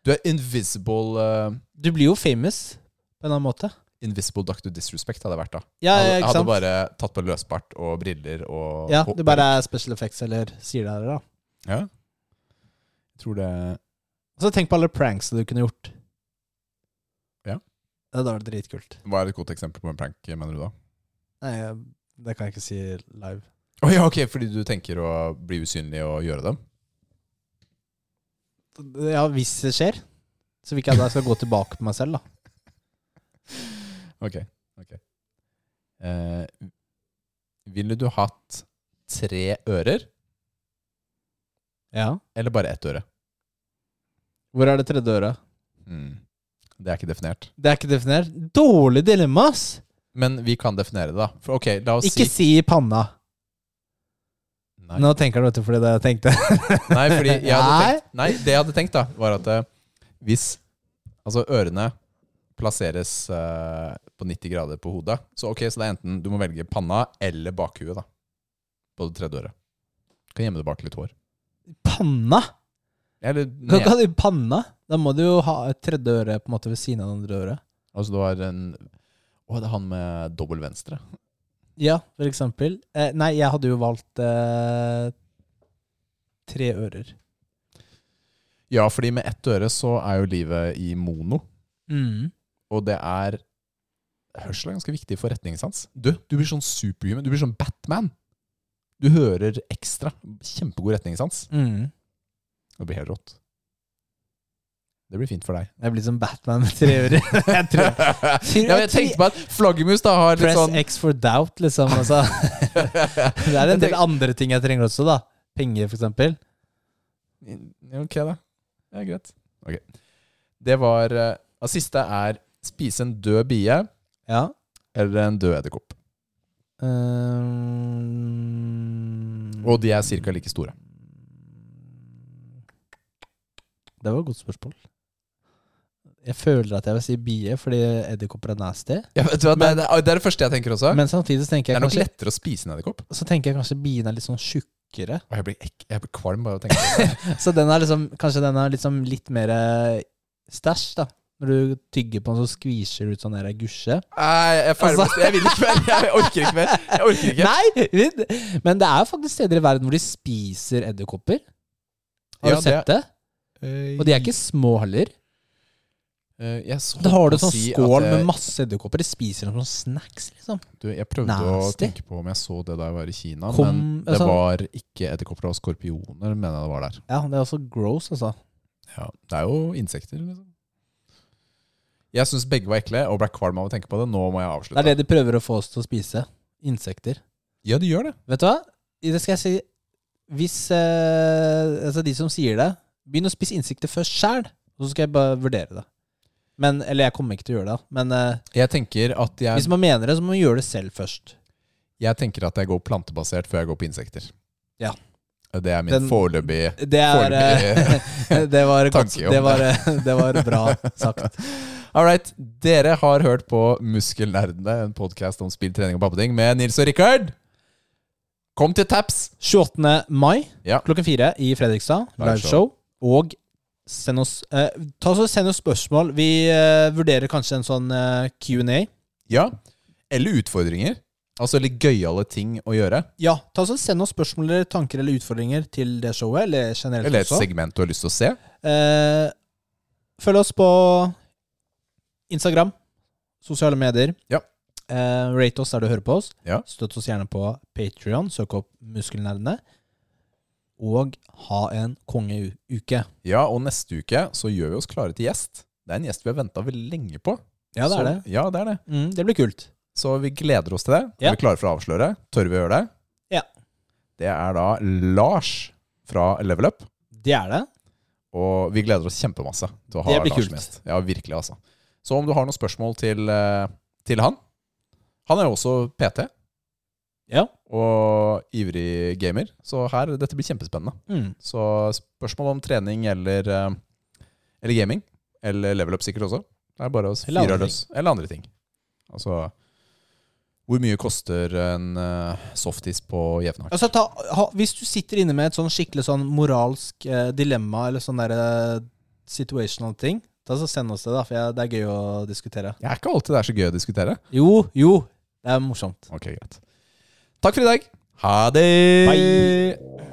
B: Du er invisible eh,
A: Du blir jo famous på en eller annen måte.
B: Invisible Doctor Disrespect hadde jeg vært da.
A: Ja,
B: Jeg hadde,
A: ja,
B: jeg
A: ikke
B: hadde
A: sant?
B: bare tatt på løsbart og briller og
A: Ja,
B: og-
A: det bare er special effects eller sier det her, da.
B: Ja. Jeg tror det
A: Og så tenk på alle pranks du kunne gjort.
B: Ja.
A: Det hadde vært dritkult.
B: Hva er et godt eksempel på en prank, mener du da?
A: Nei, det kan jeg ikke si live.
B: Å ja, ok, fordi du tenker å bli usynlig og gjøre dem?
A: Ja, hvis det skjer, så vil ikke jeg da skal gå tilbake på meg selv, da.
B: Ok. ok. Eh, ville du hatt tre ører,
A: Ja.
B: eller bare ett øre?
A: Hvor er det tredje øret?
B: Mm. Det er ikke definert.
A: Det er ikke definert. Dårlig dilemma, ass!
B: Men vi kan definere det, da. For ok, la oss
A: Ikke
B: si
A: si i panna.
B: Nei.
A: Nå tenker han, vet du, fordi det jeg tenkte.
B: Nei, fordi jeg hadde
A: Nei.
B: tenkt, nei, det jeg hadde tenkt da, var at eh, hvis altså ørene plasseres eh, på 90 grader på hodet, så ok, så det er enten du må velge panna eller bakhuet da, på det tredje øret. Kan gjemme det bak litt hår.
A: [LAUGHS] Panna?
B: Eller
A: Kan ikke
B: ned.
A: ha det i panna? Da må du jo ha et tredje øre på en måte ved siden av det andre øret.
B: Altså du har en, å det er han med dobbelt venstre.
A: Ja, for eksempel. Eh, nei, jeg hadde jo valgt eh, tre ører.
B: Ja, fordi med ett øre så er jo livet i mono,
A: Mm.
B: og det er, hørsel er ganske viktig for retningssans. Du, du blir sånn superhuman, du blir sånn Batman. Du hører ekstra, kjempegod retningssans.
A: Mm.
B: Det blir helt rått. Det blir fint for deg.
A: Jeg blir som Batman med tre [LAUGHS]
B: [LAUGHS]
A: ører. jeg tror.
B: ja, men jeg tenkte på at flaggermus da har litt
A: Press
B: sånn
A: X for doubt, liksom. Altså.
B: [LAUGHS]
A: [LAUGHS] Det er en
B: Jeg
A: del
B: tenk-
A: andre ting jeg trenger også, da. Penger, for eksempel.
B: Ja, Ok, da. Det er greit. Ok. Det var eh, Og siste er spise en død bie
A: Ja.
B: eller en død edderkopp.
A: Ehm,
B: Og de er cirka like store.
A: Det var et godt spørsmål. Jeg føler at jeg vil si bie, fordi edderkopper er nasty.
B: Ja, vet du hva, det, er- det er det første jeg tenker også.
A: Men samtidig så tenker
B: det
A: jeg
B: er nok
A: kanskje
B: lettere å spise en edderkopp.
A: Så tenker jeg kanskje bien er litt sånn tjukkere.
B: Å, Jeg, blir ek- jeg blir kvalm bare av å tenke på det.
A: Så den er liksom kanskje den er liksom litt mer eh, stæsj, da. Når du tygger på den, så skviser du ut sånn der gusje.
B: [LAUGHS] Nei, jeg er ferdig med det. Jeg vil ikke mer. [LAUGHS] Jeg orker ikke mer. Jeg orker ikke.
A: Nei! vi- Men det er jo faktisk steder i verden hvor de spiser edderkopper. Har
B: Ja,
A: du sett det? Og de er ikke små heller.
B: Eh, jeg så
A: Da har du
B: på å
A: sånn
B: si at
A: skål
B: jeg-
A: med masse edderkopper. De spiser dem som snacks, liksom.
B: Du, jeg prøvde å
A: Nasty.
B: tenke på om jeg så det da jeg var i Kina,
A: Kom-
B: men det
A: altså-
B: var ikke edderkopper og skorpioner, mener jeg det var der.
A: Ja, det er også gross, altså.
B: Ja, det er jo insekter, liksom. Jeg syns begge var ekle og ble kvalm av å tenke på det. Nå må jeg
A: Det
B: avslutte.
A: er det de prøver å få oss til å spise. Insekter.
B: Ja, de gjør det.
A: Vet du hva? Det skal jeg si. Hvis eh, Altså, de som sier det, begynn å spise insekter først sjæl, så skal jeg bare vurdere det. Men, eller jeg kommer ikke til å gjøre det, men eh,
B: Jeg tenker at
A: hvis
B: jeg,
A: man mener det, så må man gjøre det selv først.
B: jeg, tenker at jeg går plantebasert før jeg går på insekter.
A: Ja.
B: Det er min
A: Den-
B: foreløpige
A: Det er eh, [LAUGHS] Det var, godt,
B: Tanke om
A: det var, eh, det var bra sagt.
B: [LAUGHS] All right. Dere har hørt på Muskelnerdene, en podkast om spill, trening og pappeting med Nils og Rikard. Kom til Taps!
A: 28. mai
B: Ja.
A: klokken fire i Fredrikstad. Liveshow. Og send oss, eh, ta oss og send oss spørsmål. Vi eh, vurderer kanskje en sånn eh, Q&A.
B: Ja. Eller utfordringer. Altså litt gøyale ting å gjøre.
A: Ja, ta oss og send oss spørsmål eller tanker eller utfordringer til det showet, eller generelt
B: Eller et
A: også.
B: segment du har lyst til å se.
A: Eh, følg oss på Instagram, sosiale medier.
B: Ja.
A: Eh, rate oss der du hører på oss.
B: Ja.
A: Støtt oss gjerne på Patrion, søk opp Muskelnerdene. Og ha en kongeuke.
B: Ja, og neste uke så gjør vi oss klare til gjest. Det er en gjest vi har venta lenge på.
A: Ja, det
B: så,
A: er det.
B: Ja, det er det.
A: Mm, det blir kult.
B: Så vi gleder oss til det.
A: Ja.
B: Er vi klare for å avsløre? Tør vi å gjøre det?
A: Ja.
B: Det er da Lars fra Level Up.
A: Det er det.
B: Og vi gleder oss kjempemasse til å ha
A: Det blir
B: Lars
A: kult.
B: som gjest. Ja, virkelig, altså. Så om du har noen spørsmål til, eh, til han Han er jo også PT.
A: Ja.
B: og ivrig gamer. Så her, dette blir kjempespennende.
A: Mm.
B: Så spørsmål om trening eller, eh, eller gaming, eller level up sikkert også, det er bare å
A: Eller
B: fyre
A: andre
B: løs. Eller andre ting. Altså Hvor mye koster en eh, softis på Jevnhardt?
A: Altså, ta, ha, hvis du sitter inne med et sånn skikkelig sånn moralsk eh, dilemma eller sånn derre situational ting, da så send oss det, da, for jeg, det er gøy å diskutere.
B: Jeg er ikke alltid det er så gøy å diskutere.
A: Jo, jo. Det er morsomt.
B: Ok, greit. Takk for i dag. Ha det!
A: Bye.